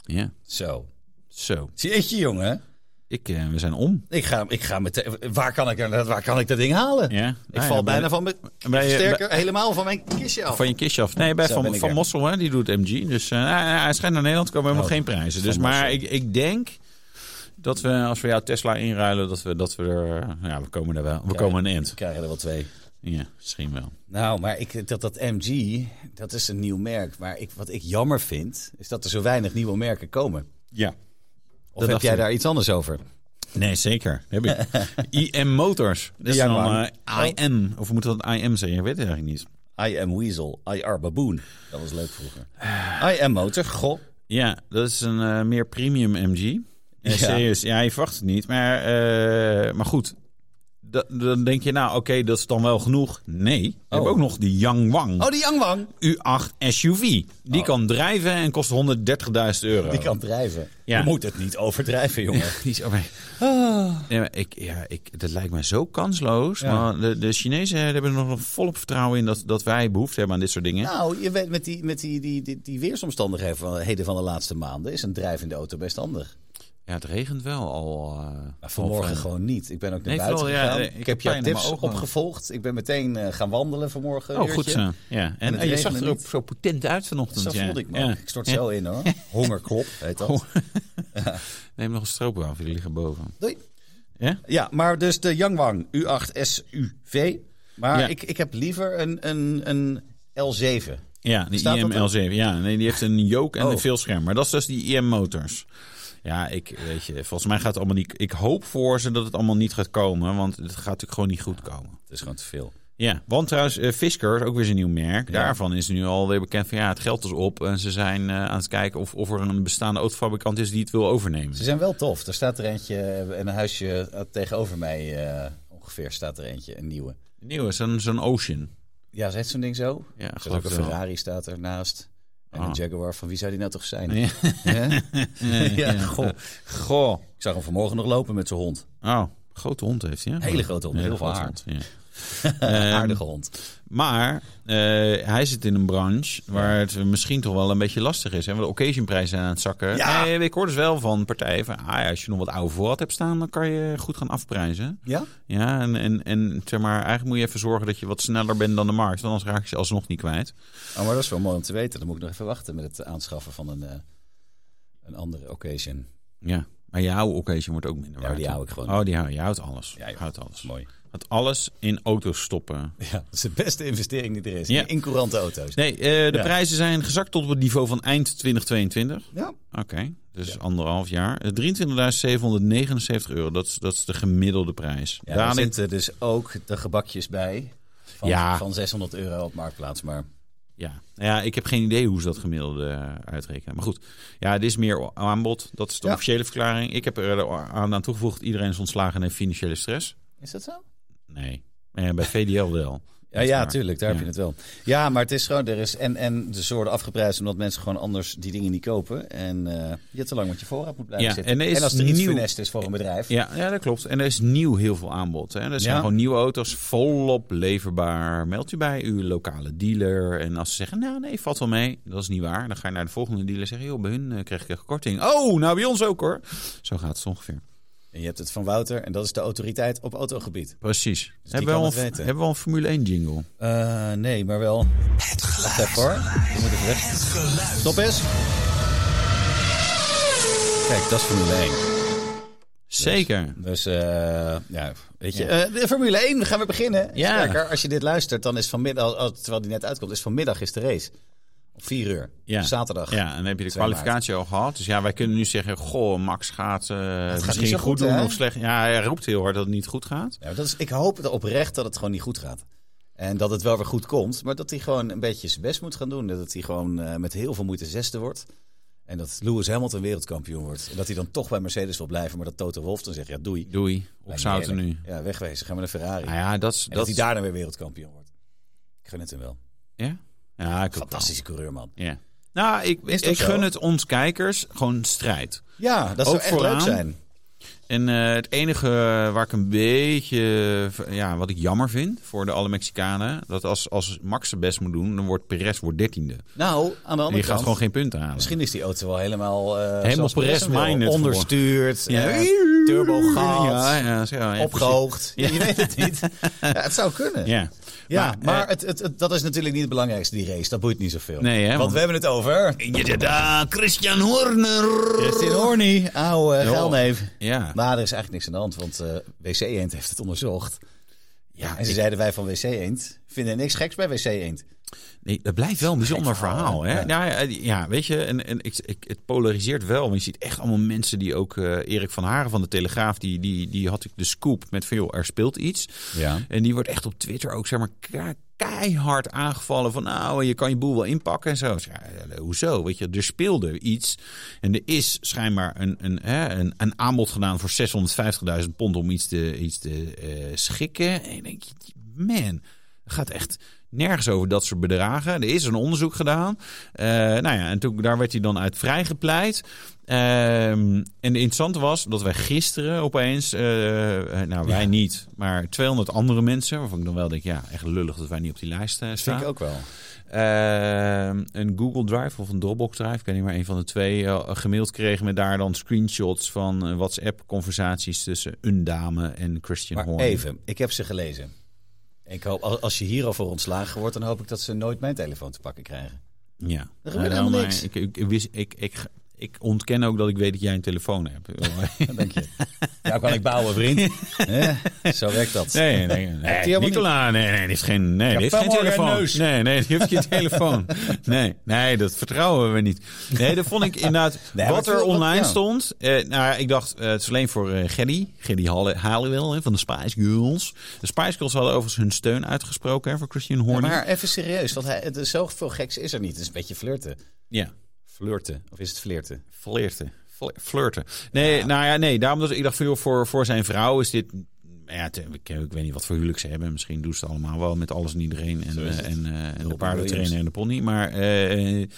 Speaker 2: ja.
Speaker 1: Zo.
Speaker 2: Zo.
Speaker 1: Jeetje, jongen.
Speaker 2: Ik, eh, we zijn om.
Speaker 1: Ik ga, ik ga meteen... Waar kan ik, er- waar kan ik dat ding halen?
Speaker 2: Ja.
Speaker 1: Ik
Speaker 2: Nou ja,
Speaker 1: val
Speaker 2: bij-
Speaker 1: bijna van mijn...
Speaker 2: bij-
Speaker 1: sterker, helemaal van mijn kistje af.
Speaker 2: Van je kistje af. Nee, bij
Speaker 1: Zo
Speaker 2: Van,
Speaker 1: ben ik
Speaker 2: van
Speaker 1: er.
Speaker 2: Mossel, hè, die doet MG. Dus eh, nou, ja, hij schijnt naar Nederland te komen, helemaal
Speaker 1: Oh,
Speaker 2: geen prijzen. Dus, maar ik, ik denk dat we, als we jouw Tesla inruilen, dat we, dat we er... Ja, we komen er wel. We komen een eind.
Speaker 1: We krijgen er wel twee.
Speaker 2: Ja, misschien wel.
Speaker 1: Nou, maar ik, dat, dat MG, dat is een nieuw merk. Maar ik, wat ik jammer vind, is dat er zo weinig nieuwe merken komen.
Speaker 2: Ja.
Speaker 1: Of heb
Speaker 2: dacht
Speaker 1: jij
Speaker 2: ik.
Speaker 1: daar iets anders over?
Speaker 2: Nee, zeker.
Speaker 1: (laughs)
Speaker 2: Heb ik. IM Motors. Dat is
Speaker 1: Ja,
Speaker 2: dan
Speaker 1: maar-
Speaker 2: eh, IM. Of moet dat IM zeggen? Ik weet het eigenlijk niet.
Speaker 1: I am Weasel, I are Baboon. Dat was leuk vroeger.
Speaker 2: Ah.
Speaker 1: I am Motor, goh.
Speaker 2: Ja, dat is een eh, meer premium MG. En
Speaker 1: Ja.
Speaker 2: serieus, ja, je verwacht het niet. Maar, eh, maar eh, goed, da- dan denk je, nou oké, dat is dan wel genoeg. Nee, we hebben ook nog die Yangwang
Speaker 1: Oh, die Yangwang.
Speaker 2: U8 SUV. Die kan drijven en kost 130.000 euro.
Speaker 1: Die kan drijven.
Speaker 2: Ja.
Speaker 1: Je moet het niet overdrijven, jongen.
Speaker 2: (laughs) Die is over.
Speaker 1: Ah.
Speaker 2: Nee, maar ik, ja, ik, dat lijkt mij zo kansloos. Maar de, de Chinezen hebben er nog volop vertrouwen in dat, dat wij behoefte hebben aan dit soort dingen.
Speaker 1: Nou, je weet, met die, met die, die, die, die weersomstandigheden van, heden van de laatste maanden is een drijvende auto best handig.
Speaker 2: Ja, het regent wel al. eh,
Speaker 1: Maar vanmorgen gewoon niet. Ik ben ook naar
Speaker 2: Nee,
Speaker 1: buiten
Speaker 2: vooral, ja,
Speaker 1: gegaan.
Speaker 2: nee, ik
Speaker 1: ik,
Speaker 2: heb
Speaker 1: heb jouw
Speaker 2: pijn in mijn
Speaker 1: tips
Speaker 2: ogen.
Speaker 1: opgevolgd. Ik ben meteen eh, gaan wandelen vanmorgen. een
Speaker 2: Oh, goed
Speaker 1: uurtje.
Speaker 2: zo. Ja. En,
Speaker 1: het
Speaker 2: en je zag
Speaker 1: regende
Speaker 2: er ook
Speaker 1: niet.
Speaker 2: zo potent uit vanochtend.
Speaker 1: Zo
Speaker 2: ja.
Speaker 1: voelde ik me
Speaker 2: Ja.
Speaker 1: ook. Ik stort zo
Speaker 2: (laughs)
Speaker 1: in hoor. Hongerklop, heet dat.
Speaker 2: Neem nog een stroop af, jullie liggen boven.
Speaker 1: Doei.
Speaker 2: Ja?
Speaker 1: Ja, maar dus de Yangwang U8 SUV. Maar
Speaker 2: Ja.
Speaker 1: ik, ik heb liever een, een, een L7.
Speaker 2: Ja, die
Speaker 1: Staat dat
Speaker 2: IML7. Ja, nee, die heeft een jook en
Speaker 1: Oh.
Speaker 2: een veel scherm. Maar dat is dus die IM Motors. Ja, ik weet je, volgens mij gaat het allemaal niet. Ik hoop voor ze dat het allemaal niet gaat komen, want het gaat natuurlijk gewoon niet goed komen.
Speaker 1: Het is gewoon te veel.
Speaker 2: Ja, want trouwens, eh, Fisker, ook weer zijn nieuw merk. Daarvan is nu alweer bekend van ja, het geld is op. En ze zijn eh, aan het kijken of, of er een bestaande autofabrikant is die het wil overnemen.
Speaker 1: Ze zijn wel tof. Er staat er eentje en een huisje eh, tegenover mij eh, ongeveer staat er eentje, een nieuwe.
Speaker 2: Nieuw is zo'n zo'n Ocean.
Speaker 1: Ja, zegt zo'n ding zo?
Speaker 2: Ja,
Speaker 1: Er staat
Speaker 2: geloof
Speaker 1: ook een
Speaker 2: ik wel.
Speaker 1: Ferrari staat ernaast. En
Speaker 2: Ah.
Speaker 1: een Jaguar, van wie zou die nou toch zijn?
Speaker 2: Ja. (laughs)
Speaker 1: Hè?
Speaker 2: ja.
Speaker 1: ja, goh.
Speaker 2: Goh.
Speaker 1: Ik zag hem vanmorgen nog lopen met zijn hond.
Speaker 2: Oh, grote hond heeft hij. hè?
Speaker 1: Hele grote hond,
Speaker 2: Een
Speaker 1: heel veel
Speaker 2: grote
Speaker 1: haar.
Speaker 2: hond, ja. Ehm.
Speaker 1: Aardige hond.
Speaker 2: Maar eh, hij zit in een branche waar het misschien toch wel een beetje lastig is. Hè? Want de occasionprijzen zijn aan het zakken.
Speaker 1: Ja.
Speaker 2: Eh, ik hoor dus wel van partijen van... Ah, ja, als je nog wat oude voorraad hebt staan, dan kan je goed gaan afprijzen.
Speaker 1: Ja?
Speaker 2: Ja, en, en, en zeg maar, eigenlijk moet je even zorgen dat je wat sneller bent dan de markt. Want anders raak je ze alsnog niet kwijt.
Speaker 1: Oh, maar dat is wel mooi om te weten. Dan moet ik nog even wachten met het aanschaffen van een, eh, een andere occasion.
Speaker 2: Ja. Maar jouw occasion wordt ook minder
Speaker 1: Ja,
Speaker 2: waard.
Speaker 1: die
Speaker 2: hè?
Speaker 1: hou ik gewoon.
Speaker 2: Oh, die hou je. houdt alles.
Speaker 1: Ja, joh.
Speaker 2: houdt alles.
Speaker 1: Mooi.
Speaker 2: Houdt alles in auto's stoppen.
Speaker 1: Ja, dat is de beste investering die er is.
Speaker 2: Ja.
Speaker 1: In courante auto's.
Speaker 2: Nee, eh, de
Speaker 1: Ja.
Speaker 2: prijzen zijn gezakt tot op het niveau van eind 2022.
Speaker 1: Ja.
Speaker 2: Oké, dus anderhalf jaar. Eh, 23.779 euro, dat is, dat is de gemiddelde prijs.
Speaker 1: Ja, daar
Speaker 2: Daling-
Speaker 1: zitten dus ook de gebakjes bij. Van,
Speaker 2: Ja.
Speaker 1: van 600 euro op Marktplaats. Maar
Speaker 2: ja. ja, ik heb geen idee hoe ze dat gemiddelde eh, uitrekenen. Maar goed, ja, dit is meer aanbod. Dat is de
Speaker 1: Ja.
Speaker 2: officiële verklaring. Ik heb er aan, aan toegevoegd, iedereen is ontslagen en heeft financiële stress.
Speaker 1: is dat zo?
Speaker 2: Nee, Eh, bij VDL wel.
Speaker 1: Ja,
Speaker 2: Dat is
Speaker 1: ja,
Speaker 2: waar.
Speaker 1: tuurlijk. Daar
Speaker 2: Ja.
Speaker 1: heb je het wel. Ja, maar het is gewoon... Er is, en, en de soorten afgeprijsd omdat mensen gewoon anders die dingen niet kopen. En eh, je te lang met je voorraad moet blijven
Speaker 2: Ja,
Speaker 1: zitten.
Speaker 2: en er is
Speaker 1: als er iets
Speaker 2: nieuw-
Speaker 1: funest is voor een bedrijf.
Speaker 2: Ja, ja, dat klopt. En er is nieuw heel veel aanbod. Hè. Er zijn
Speaker 1: Ja.
Speaker 2: gewoon nieuwe auto's volop leverbaar. Meld u bij uw lokale dealer. En als ze zeggen, nou nee, valt wel mee. Dat is niet waar. Dan ga je naar de volgende dealer en zeggen, joh, bij hun eh, kreeg ik een korting. Oh, nou bij ons ook hoor. Zo gaat het ongeveer.
Speaker 1: En je hebt het van Wouter. En dat is de autoriteit op autogebied.
Speaker 2: Precies. hebben,
Speaker 1: kan
Speaker 2: we al
Speaker 1: het
Speaker 2: een,
Speaker 1: weten.
Speaker 2: hebben we al een Formule 1 jingle?
Speaker 1: Eh, nee, maar wel...
Speaker 3: Het geluid.
Speaker 1: Even hoor. Je moet even weg.
Speaker 3: Het geluid.
Speaker 1: Stop eens. Kijk, dat is Formule 1.
Speaker 2: Zeker.
Speaker 1: Dus, eh, ja, weet je. eh, de Formule 1, we gaan weer beginnen.
Speaker 2: Ja.
Speaker 1: Sterker, als je dit luistert, dan is vanmiddag, als- terwijl die net uitkomt, is vanmiddag is de race. Om 4 uur.
Speaker 2: Ja.
Speaker 1: Zaterdag.
Speaker 2: Ja, en dan heb je de
Speaker 1: 2 maart.
Speaker 2: kwalificatie al gehad. Dus ja, wij kunnen nu zeggen, goh, Max gaat, eh, misschien
Speaker 1: niet zo
Speaker 2: goed,
Speaker 1: goed,
Speaker 2: doen
Speaker 1: hè?
Speaker 2: of slecht. Ja, hij roept heel hard dat het niet goed gaat.
Speaker 1: Ja, maar dat is, ik hoop het oprecht dat het gewoon niet goed gaat. En dat het wel weer goed komt. Maar dat hij gewoon een beetje zijn best moet gaan doen. Dat hij gewoon eh, met heel veel moeite zesde wordt. En dat Lewis Hamilton wereldkampioen wordt. En dat hij dan toch bij Mercedes wil blijven. Maar dat Toto Wolff dan zegt, ja doei.
Speaker 2: Doei, op zouten
Speaker 1: Lijkt me
Speaker 2: nu.
Speaker 1: eerlijk. Ja, wegwezen. Ga maar naar Ferrari.
Speaker 2: Nou ja, dat is...
Speaker 1: En dat,
Speaker 2: is-
Speaker 1: hij daarna weer wereldkampioen wordt. Ik gun het hem wel.
Speaker 2: Ja? Ja, ik ook wel.
Speaker 1: Fantastische coureur, man.
Speaker 2: Ja. Nou, ik,
Speaker 1: Is dat
Speaker 2: ik
Speaker 1: zo?
Speaker 2: gun het ons kijkers gewoon strijd.
Speaker 1: Ja, dat
Speaker 2: Ook
Speaker 1: zou echt
Speaker 2: vooraan.
Speaker 1: leuk zijn.
Speaker 2: En eh, het enige waar ik een beetje, eh, ja, wat ik jammer vind voor de alle Mexicanen, dat als, als Max zijn best moet doen, dan wordt Perez wordt dertiende.
Speaker 1: Nou, aan de
Speaker 2: En je
Speaker 1: andere
Speaker 2: gaat
Speaker 1: kant...
Speaker 2: gewoon geen punten halen.
Speaker 1: Misschien is die auto wel helemaal... eh,
Speaker 2: Helemaal
Speaker 1: zoals Perez
Speaker 2: Perez
Speaker 1: wil.
Speaker 2: minded
Speaker 1: Onderstuurd, eh, turbo gehad,
Speaker 2: Ja, ja, zo, ja,
Speaker 1: opgehoogd. Je weet het
Speaker 2: (laughs)
Speaker 1: niet. Ja, het zou kunnen.
Speaker 2: precies. Ja.
Speaker 1: Ja,
Speaker 2: Maar,
Speaker 1: maar,
Speaker 2: eh,
Speaker 1: het, het, het- dat is natuurlijk niet het belangrijkste, die race. Dat boeit niet zoveel.
Speaker 2: Nee, hè,
Speaker 1: want,
Speaker 2: want-
Speaker 1: we hebben het over...
Speaker 2: Inderdaad, Christian Horner.
Speaker 1: Justin Horny, oude
Speaker 2: Ja.
Speaker 1: geilneef.
Speaker 2: Ja.
Speaker 1: Maar er is eigenlijk niks aan de hand, want eh, WC Eend heeft het onderzocht.
Speaker 2: Ja,
Speaker 1: En ze
Speaker 2: ik-
Speaker 1: zeiden wij van WC Eend vinden niks geks bij WC Eend.
Speaker 2: Nee, dat blijft wel een bijzonder
Speaker 1: Gek verhaal,
Speaker 2: verhaal. Hè?
Speaker 1: hè?
Speaker 2: Ja. Ja, ja, weet je, en, en ik, ik, het polariseert wel. Want je ziet echt allemaal mensen die ook... eh, Erik van Haren van de Telegraaf, die, die, die had ik de scoop met van... joh, er speelt iets.
Speaker 1: Ja.
Speaker 2: En die wordt echt op Twitter ook, zeg maar, ka- keihard aangevallen van nou, je kan je boel wel inpakken en zo. Ik zei, ja, eh, hoezo? Weet je, er speelde iets en er is schijnbaar een, een, hè, een, een aanbod gedaan voor 650.000 pond om iets te, iets te eh, schikken. En ik denk, man, het gaat echt nergens over dat soort bedragen. Er is een onderzoek gedaan. Eh, nou ja, en toen, daar werd hij dan uit vrijgepleit. Ehm, en het interessante was dat wij gisteren opeens, eh, eh, nou wij niet, maar 200 andere mensen, waarvan ik dan wel denk, ja, echt lullig dat wij niet op die lijst eh,
Speaker 1: Vind
Speaker 2: staan.
Speaker 1: ik ook wel.
Speaker 2: Ehm, een Google Drive of een Dropbox Drive, ik weet niet maar, een van de twee, eh, gemaild kregen met daar dan screenshots van eh, WhatsApp-conversaties tussen een dame en Christian
Speaker 1: Maar
Speaker 2: Horn.
Speaker 1: even, ik heb ze gelezen. Ik hoop, al- als je hierover ontslagen wordt, dan hoop ik dat ze nooit mijn telefoon te pakken krijgen.
Speaker 2: Ja.
Speaker 1: Er
Speaker 2: Nou,
Speaker 1: gebeurt helemaal
Speaker 2: maar
Speaker 1: niks.
Speaker 2: Ik, ik, ik, wist, ik, ik, ik ontken ook dat ik weet dat jij een
Speaker 1: (laughs)
Speaker 2: telefoon hebt.
Speaker 1: Dank je. Nou kan ik bouwen, (laughs) vriend. Hè? Zo werkt dat.
Speaker 2: Nee, nee, nee. nee
Speaker 1: helemaal
Speaker 2: Nicola, nee, nee, die heeft geen, nee, die heeft geen
Speaker 1: Pamela
Speaker 2: telefoon.
Speaker 1: Reneus.
Speaker 2: Nee, nee, die heeft geen telefoon. Nee, nee, dat vertrouwen we niet. Nee, dat vond ik inderdaad.
Speaker 1: (laughs) Nee, maar ik
Speaker 2: wat er
Speaker 1: vond dat-
Speaker 2: online
Speaker 1: ja.
Speaker 2: stond, eh, nou, ja, ik dacht, eh, het is alleen voor eh Geddy, Geddy Halle- Halliwell hè, van de Spice Girls. De Spice Girls hadden overigens hun steun uitgesproken hè, voor Christian
Speaker 1: Ja,
Speaker 2: Horner.
Speaker 1: maar even serieus, want hij, het is zoveel geks is er niet. Het is een beetje flirten.
Speaker 2: ja.
Speaker 1: Flirten, of is het flirten?
Speaker 2: Flirten. Fli- Flirten. Nee, nou ja, nee. Daarom dat ik dacht, van, joh, voor, voor zijn vrouw is dit... Ja, te- ik, ik weet niet wat voor huwelijk ze hebben. Misschien doen ze het allemaal wel met alles en iedereen. En,
Speaker 1: is
Speaker 2: eh,
Speaker 1: het.
Speaker 2: en, eh, en de
Speaker 1: Robin
Speaker 2: paardentrainer
Speaker 1: Williams.
Speaker 2: en de pony. Maar eh, eh,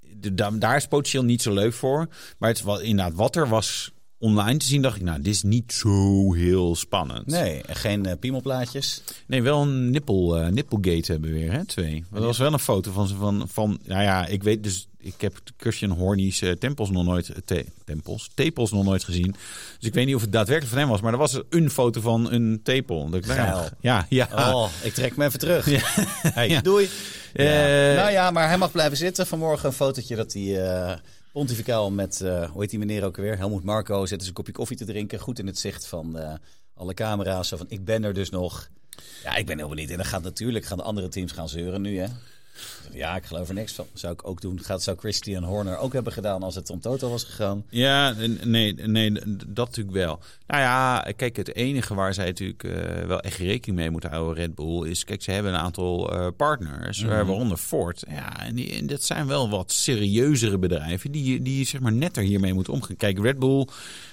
Speaker 2: de- da- daar is potentieel niet zo leuk voor. Maar het is wel, inderdaad, wat er was online te zien, dacht ik... Nou, dit is niet zo heel spannend.
Speaker 1: Nee, en geen eh, piemelplaatjes.
Speaker 2: Nee, wel een nippel, eh, nippelgate hebben we weer, hè? Twee. Maar er was wel een foto van ze van, van. Nou ja, ik weet dus. Ik heb Christian Horny's eh, tempels nog nooit. eh, te- tempels? Tepels nog nooit gezien. Dus ik weet niet of het daadwerkelijk van hem was. Maar er was een foto van een tepel. Dat ik, nou ja,
Speaker 1: Geil.
Speaker 2: Ja, ja.
Speaker 1: Oh, ik trek me even terug. Hey,
Speaker 2: (laughs) Ja.
Speaker 1: Doei.
Speaker 2: Eh,
Speaker 1: nou ja, maar hij mag blijven zitten. Vanmorgen een fotootje dat hij eh, pontificaal met, eh, hoe heet die meneer ook weer? Helmoet Marco zitten ze een kopje koffie te drinken. Goed in het zicht van eh, alle camera's. Zo van, ik ben er dus nog. Ja, ik ben heel benieuwd. En dan gaat natuurlijk gaan de andere teams gaan zeuren nu, hè? Ja, ik geloof er niks van. Zou ik ook doen. Gaat, zou Christian Horner ook hebben gedaan als het om Toto was gegaan?
Speaker 2: Ja, n- nee, nee, d- dat natuurlijk wel. Nou ja, kijk, het enige waar zij natuurlijk eh, wel echt rekening mee moeten houden, Red Bull, is, kijk, ze hebben een aantal eh, partners,
Speaker 1: Mhm.
Speaker 2: eh, waaronder Ford. Ja, en, die, en dat zijn wel wat serieuzere bedrijven die, die zeg maar netter hiermee moeten omgaan. Kijk, Red Bull,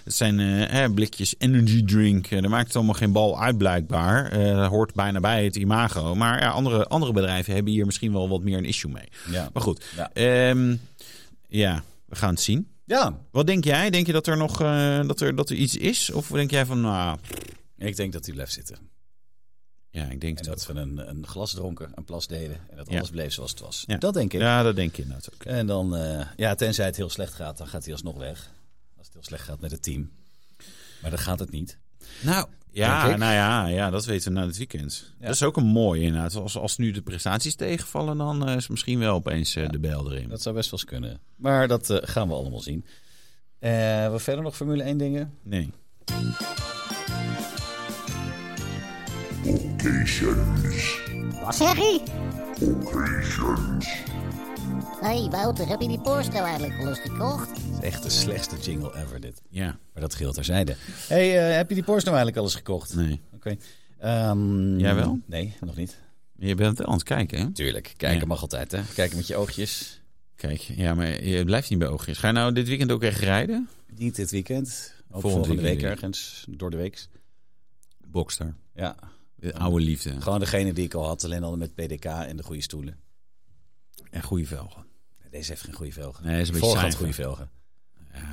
Speaker 2: het zijn eh, hè, blikjes energy drink, eh, daar maakt het allemaal geen bal uit blijkbaar. Eh, dat hoort bijna bij het imago. Maar ja, andere, andere bedrijven hebben hier misschien wel wat meer een issue mee.
Speaker 1: Ja.
Speaker 2: Maar goed,
Speaker 1: Ja.
Speaker 2: ehm, ja we gaan het zien.
Speaker 1: Ja,
Speaker 2: Wat denk jij? Denk je dat er nog eh, dat er, dat er iets is? Of denk jij van, nou,
Speaker 1: ik denk dat hij blijft zitten.
Speaker 2: ja, ik denk
Speaker 1: En
Speaker 2: dat.
Speaker 1: dat we een, een glas dronken, een plas deden. En dat
Speaker 2: Ja.
Speaker 1: alles bleef zoals het was.
Speaker 2: Ja.
Speaker 1: Dat denk ik.
Speaker 2: Ja, dat denk je inderdaad ook.
Speaker 1: En dan, eh, ja, tenzij het heel slecht gaat, dan gaat hij alsnog weg. Als het heel slecht gaat met het team. Maar dan gaat het niet.
Speaker 2: Nou, ja,
Speaker 1: Denk ik.
Speaker 2: nou ja, ja, dat weten we na dit weekend.
Speaker 1: Ja.
Speaker 2: Dat is ook een mooie inderdaad. Als, als nu de prestaties tegenvallen, dan eh, is misschien wel opeens eh, de bel erin.
Speaker 1: Dat zou best wel eens kunnen. Maar dat eh, gaan we allemaal zien. Eh wat verder nog Formule 1 dingen?
Speaker 2: Nee.
Speaker 4: Wat zeg je? Hé, hey, Wouter, heb je die Porsche nou eigenlijk al eens gekocht?
Speaker 1: Het is echt de slechtste jingle ever dit.
Speaker 2: Ja,
Speaker 1: Maar dat geldt terzijde. hey, eh, heb je die Porsche nou eigenlijk al eens gekocht?
Speaker 2: nee.
Speaker 1: Oké. Ehm,
Speaker 2: Jij wel?
Speaker 1: Nee, nog niet.
Speaker 2: Je bent wel aan het kijken, hè?
Speaker 1: Tuurlijk, kijken
Speaker 2: Ja.
Speaker 1: mag altijd hè. Kijken met je oogjes.
Speaker 2: Kijk, ja, maar je blijft niet bij oogjes. Ga je nou dit weekend ook echt rijden?
Speaker 1: Niet dit weekend. Ook
Speaker 2: Volgend
Speaker 1: volgende week
Speaker 2: weekend.
Speaker 1: ergens, door de week.
Speaker 2: Boxster.
Speaker 1: Ja,
Speaker 2: De oude liefde.
Speaker 1: gewoon degene die ik al had, alleen al met PDK en de goede stoelen.
Speaker 2: En goede velgen.
Speaker 1: Deze heeft geen goede velgen.
Speaker 2: Nee, is een beetje
Speaker 1: Vorige had
Speaker 2: saai.
Speaker 1: goede velgen.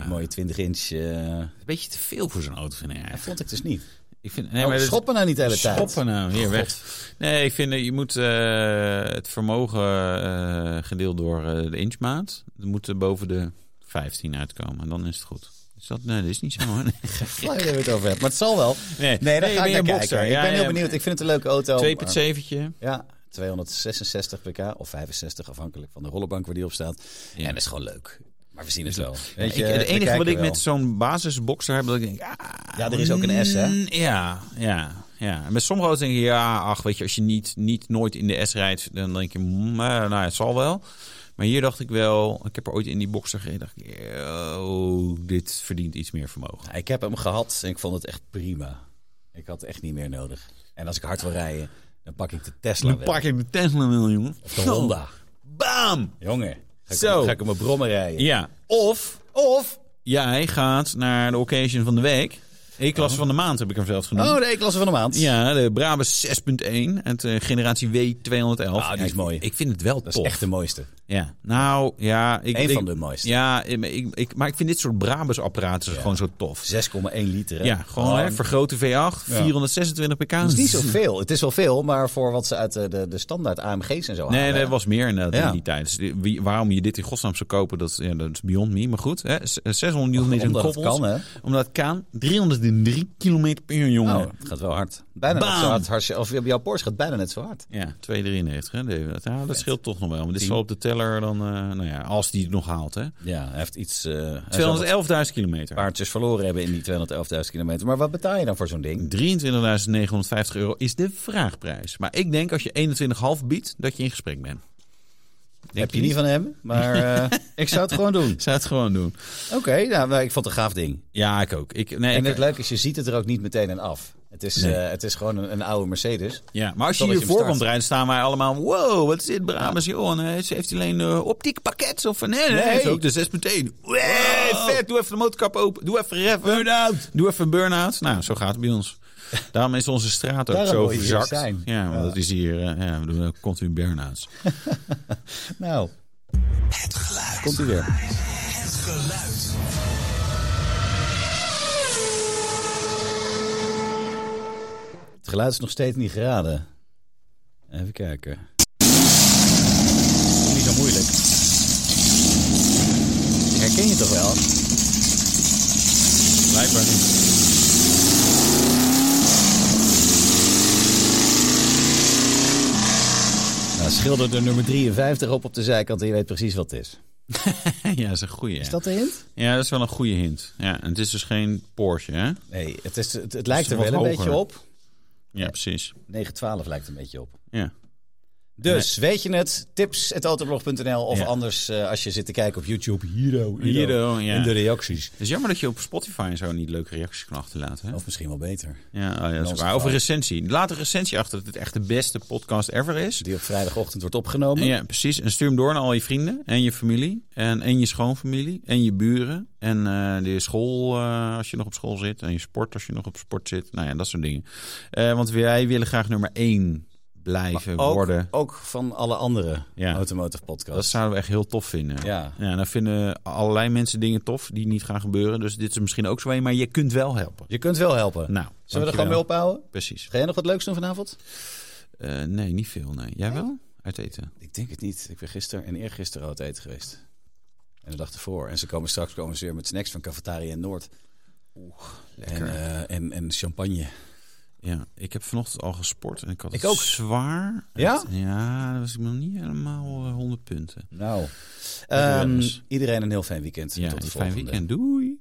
Speaker 1: Een mooie 20 inch. eh
Speaker 2: Een beetje te veel voor zo'n auto, vind ik
Speaker 1: dat
Speaker 2: eigenlijk.
Speaker 1: vond ik dus niet.
Speaker 2: Ik vind, nee,
Speaker 1: oh,
Speaker 2: maar dat-
Speaker 1: schoppen nou niet de hele tijd.
Speaker 2: Schoppen nou, hier weg. Nee, ik vind eh, je moet eh, het vermogen eh, gedeeld door eh, de inchmaat. Het moet eh, boven de 15 uitkomen. En dan is het goed. Is dat, nee, dat is niet zo.
Speaker 1: (laughs)
Speaker 2: hoor.
Speaker 1: Flauw idee waar je het over hebt. Maar het zal wel.
Speaker 2: Nee,
Speaker 1: Nee, daar ga
Speaker 2: nee, ben
Speaker 1: ik
Speaker 2: je
Speaker 1: naar
Speaker 2: een
Speaker 1: kijken.
Speaker 2: boxer?
Speaker 1: Ik
Speaker 2: Ja,
Speaker 1: ben heel
Speaker 2: ja.
Speaker 1: benieuwd. Ik vind het een leuke auto. maar-
Speaker 2: 2,7'tje.
Speaker 1: Ja, 266 pk of 65 afhankelijk van de rollerbank waar die op staat. En dat is gewoon leuk. Maar we zien het wel. Weet
Speaker 2: Ik,
Speaker 1: je,
Speaker 2: het
Speaker 1: we
Speaker 2: enige wat
Speaker 1: kijken
Speaker 2: ik
Speaker 1: wel.
Speaker 2: met zo'n basisboxer heb, dat ik denk, ah,
Speaker 1: Ja, er is ook een S, hè?
Speaker 2: mm, Ja, ja, ja. En met sommige auto's denk je, ja, ach, weet je, als je niet, niet nooit in de S rijdt, dan denk je, mm, eh, nou, het zal wel. Maar hier dacht ik wel, ik heb er ooit in die boxer gereden, dacht ik, oh, dit verdient iets meer vermogen.
Speaker 1: Ja, Ik heb hem gehad en ik vond het echt prima. Ik had het echt niet meer nodig. En als ik hard wil rijden, Dan pak ik de Tesla
Speaker 2: Dan
Speaker 1: wel.
Speaker 2: pak ik mijn Tesla wel, jongen.
Speaker 1: Of de Honda.
Speaker 2: Bam!
Speaker 1: Jongen, ga ik,
Speaker 2: Zo.
Speaker 1: Op, ga ik op mijn brommen rijden.
Speaker 2: Ja.
Speaker 1: Of, of...
Speaker 2: Jij gaat naar de occasion van de week. E-klasse van de maand heb ik hem zelfs genoemd.
Speaker 1: Oh, de E-klasse van de maand.
Speaker 2: Ja, de Brabus 6.1 uit eh, generatie W211.
Speaker 1: Ah, die is
Speaker 2: ik-
Speaker 1: mooi.
Speaker 2: Ik vind het wel
Speaker 1: Dat is
Speaker 2: tof.
Speaker 1: echt de mooiste.
Speaker 2: Ja. Nou, ja. Ik,
Speaker 1: Eén
Speaker 2: ik-
Speaker 1: van de mooiste.
Speaker 2: Ja, ik, ik, ik- maar ik vind dit soort Brabus apparaten gewoon zo tof.
Speaker 1: 6,1 liter. Hè?
Speaker 2: Ja, gewoon
Speaker 1: Oh,
Speaker 2: hè, vergrote V8, 426 pk.
Speaker 1: Dat is niet zoveel. Het is wel veel, maar voor wat ze uit eh, de, de, de standaard AMG's en zo halen.
Speaker 2: Nee, dat was meer inderdaad
Speaker 1: Ah, Ja.
Speaker 2: in die tijd. Dus die- wie- waarom je dit in godsnaam zou kopen, dat, ja, dat is beyond me. Maar goed, hè, z- eh, 600 Nm in
Speaker 1: Omdat het
Speaker 2: koppels.
Speaker 1: kan, hè?
Speaker 2: Omdat het kan. 303 km per uur, jongen.
Speaker 1: Oh, het gaat wel hard. Bijna
Speaker 2: Bam!
Speaker 1: net zo hard. Als je, of op jouw Porsche gaat bijna net zo hard.
Speaker 2: Ja, 293. Hè, David. Ja, dat scheelt toch nog wel. Maar dit is wel op de teller dan, eh, nou ja, als die het nog haalt. hè.
Speaker 1: Ja, hij heeft iets... eh, hij zal wat
Speaker 2: 211.000 kilometer.
Speaker 1: paardjes verloren hebben in die 211.000 kilometer. Maar wat betaal je dan voor zo'n ding?
Speaker 2: 23.950 euro is de vraagprijs. Maar ik denk als je 21,5 biedt, dat je in gesprek bent.
Speaker 1: Heb je niet van hem, maar (laughs) eh, ik zou het gewoon doen.
Speaker 2: Ik zou het gewoon doen.
Speaker 1: Oké, nou, maar ik vond het een gaaf ding.
Speaker 2: Ja, ik ook. Ik, nee,
Speaker 1: En
Speaker 2: ik-
Speaker 1: het leuke is, je ziet het er ook niet meteen aan af. Het is, eh, het is gewoon een, een oude Mercedes.
Speaker 2: Ja, maar als je
Speaker 1: Totdat je
Speaker 2: hier
Speaker 1: hem
Speaker 2: voor
Speaker 1: start.
Speaker 2: komt rijden, staan wij allemaal... Wow, wat is dit, Brabus, joh. en, eh, ze heeft alleen eh, optiek pakket of... Nee, nee,
Speaker 1: Nee.
Speaker 2: het is ook de 6.1. Hey, vet, doe even de motorkap open. Doe even reffen. Burn-out. Doe even een burn-out. Nou, zo gaat het bij ons. Daarom is onze straat ook
Speaker 1: Daarom
Speaker 2: zo
Speaker 1: wil je hier
Speaker 2: verzakt.
Speaker 1: zijn.
Speaker 2: Ja, want dat is hier... eh, ja, we doen ook continu burn-outs.
Speaker 1: Nou,
Speaker 3: Het geluid.
Speaker 1: komt u weer.
Speaker 3: Het geluid.
Speaker 1: Het geluid is nog steeds niet geraden. Even kijken. Niet zo moeilijk. Die Herken je toch wel?
Speaker 2: Blijkbaar niet.
Speaker 1: Nou, schilder er nummer 53 op op de zijkant en je weet precies wat het is.
Speaker 2: (laughs) ja, dat is een goeie.
Speaker 1: Is dat de hint?
Speaker 2: Ja, dat is wel een goede hint. Ja, en het is dus geen Porsche, hè?
Speaker 1: Nee, het, is, het, het lijkt
Speaker 2: Het
Speaker 1: er
Speaker 2: is
Speaker 1: wel
Speaker 2: wat
Speaker 1: een beetje
Speaker 2: hoger.
Speaker 1: op.
Speaker 2: Ja, precies.
Speaker 1: 912 lijkt een beetje op.
Speaker 2: Ja.
Speaker 1: Dus, weet je het? Tips.autoblog.nl of
Speaker 2: Ja.
Speaker 1: anders eh, als je zit te kijken op YouTube. Hero,
Speaker 2: Hero, ja.
Speaker 1: In de reacties.
Speaker 2: Het is jammer dat je op Spotify en zo niet leuke reacties kan achterlaten, hè?
Speaker 1: Of misschien wel beter.
Speaker 2: Ja, oh ja dat
Speaker 1: ons
Speaker 2: is waar. Of een
Speaker 1: geval.
Speaker 2: recensie. Laat een recensie achter dat het echt de beste podcast ever is.
Speaker 1: Die op vrijdagochtend wordt opgenomen.
Speaker 2: Ja, precies. En stuur hem door naar al je vrienden en je familie. En, en je schoonfamilie. En je buren. En eh, de school eh, als je nog op school zit. En je sport als je nog op sport zit. Nou ja, dat soort dingen. Eh, want wij willen graag nummer één blijven
Speaker 1: ook,
Speaker 2: worden.
Speaker 1: ook van alle andere
Speaker 2: Ja.
Speaker 1: automotive podcasts.
Speaker 2: Dat zouden we echt heel tof vinden.
Speaker 1: Ja.
Speaker 2: ja. Dan vinden allerlei mensen dingen tof die niet gaan gebeuren. Dus dit is misschien ook zo een. Maar je kunt wel helpen.
Speaker 1: Je kunt wel helpen.
Speaker 2: Nou,
Speaker 1: Zullen we
Speaker 2: dankjewel.
Speaker 1: er gewoon mee ophouden?
Speaker 2: Precies.
Speaker 1: Ga jij nog wat leuks doen vanavond?
Speaker 2: Eh, nee, niet veel. Nee. Jij wel? Uit eten.
Speaker 1: Ik denk het niet. Ik ben gisteren en eergisteren uit eten geweest. En de dag ervoor. En ze komen straks komen ze weer met snacks van Cafetaria Noord. En, eh, en, en champagne.
Speaker 2: Ja, ik heb vanochtend al gesport en ik had
Speaker 1: Ik
Speaker 2: het
Speaker 1: ook.
Speaker 2: zwaar.
Speaker 1: Ja?
Speaker 2: Ja, dat was ik nog niet helemaal eh, 100 punten.
Speaker 1: Nou. ehm,
Speaker 2: Lekker, jongens.
Speaker 1: iedereen een heel fijn weekend.
Speaker 2: Ja,
Speaker 1: Tot de
Speaker 2: een fijn
Speaker 1: volgende.
Speaker 2: weekend. Doei.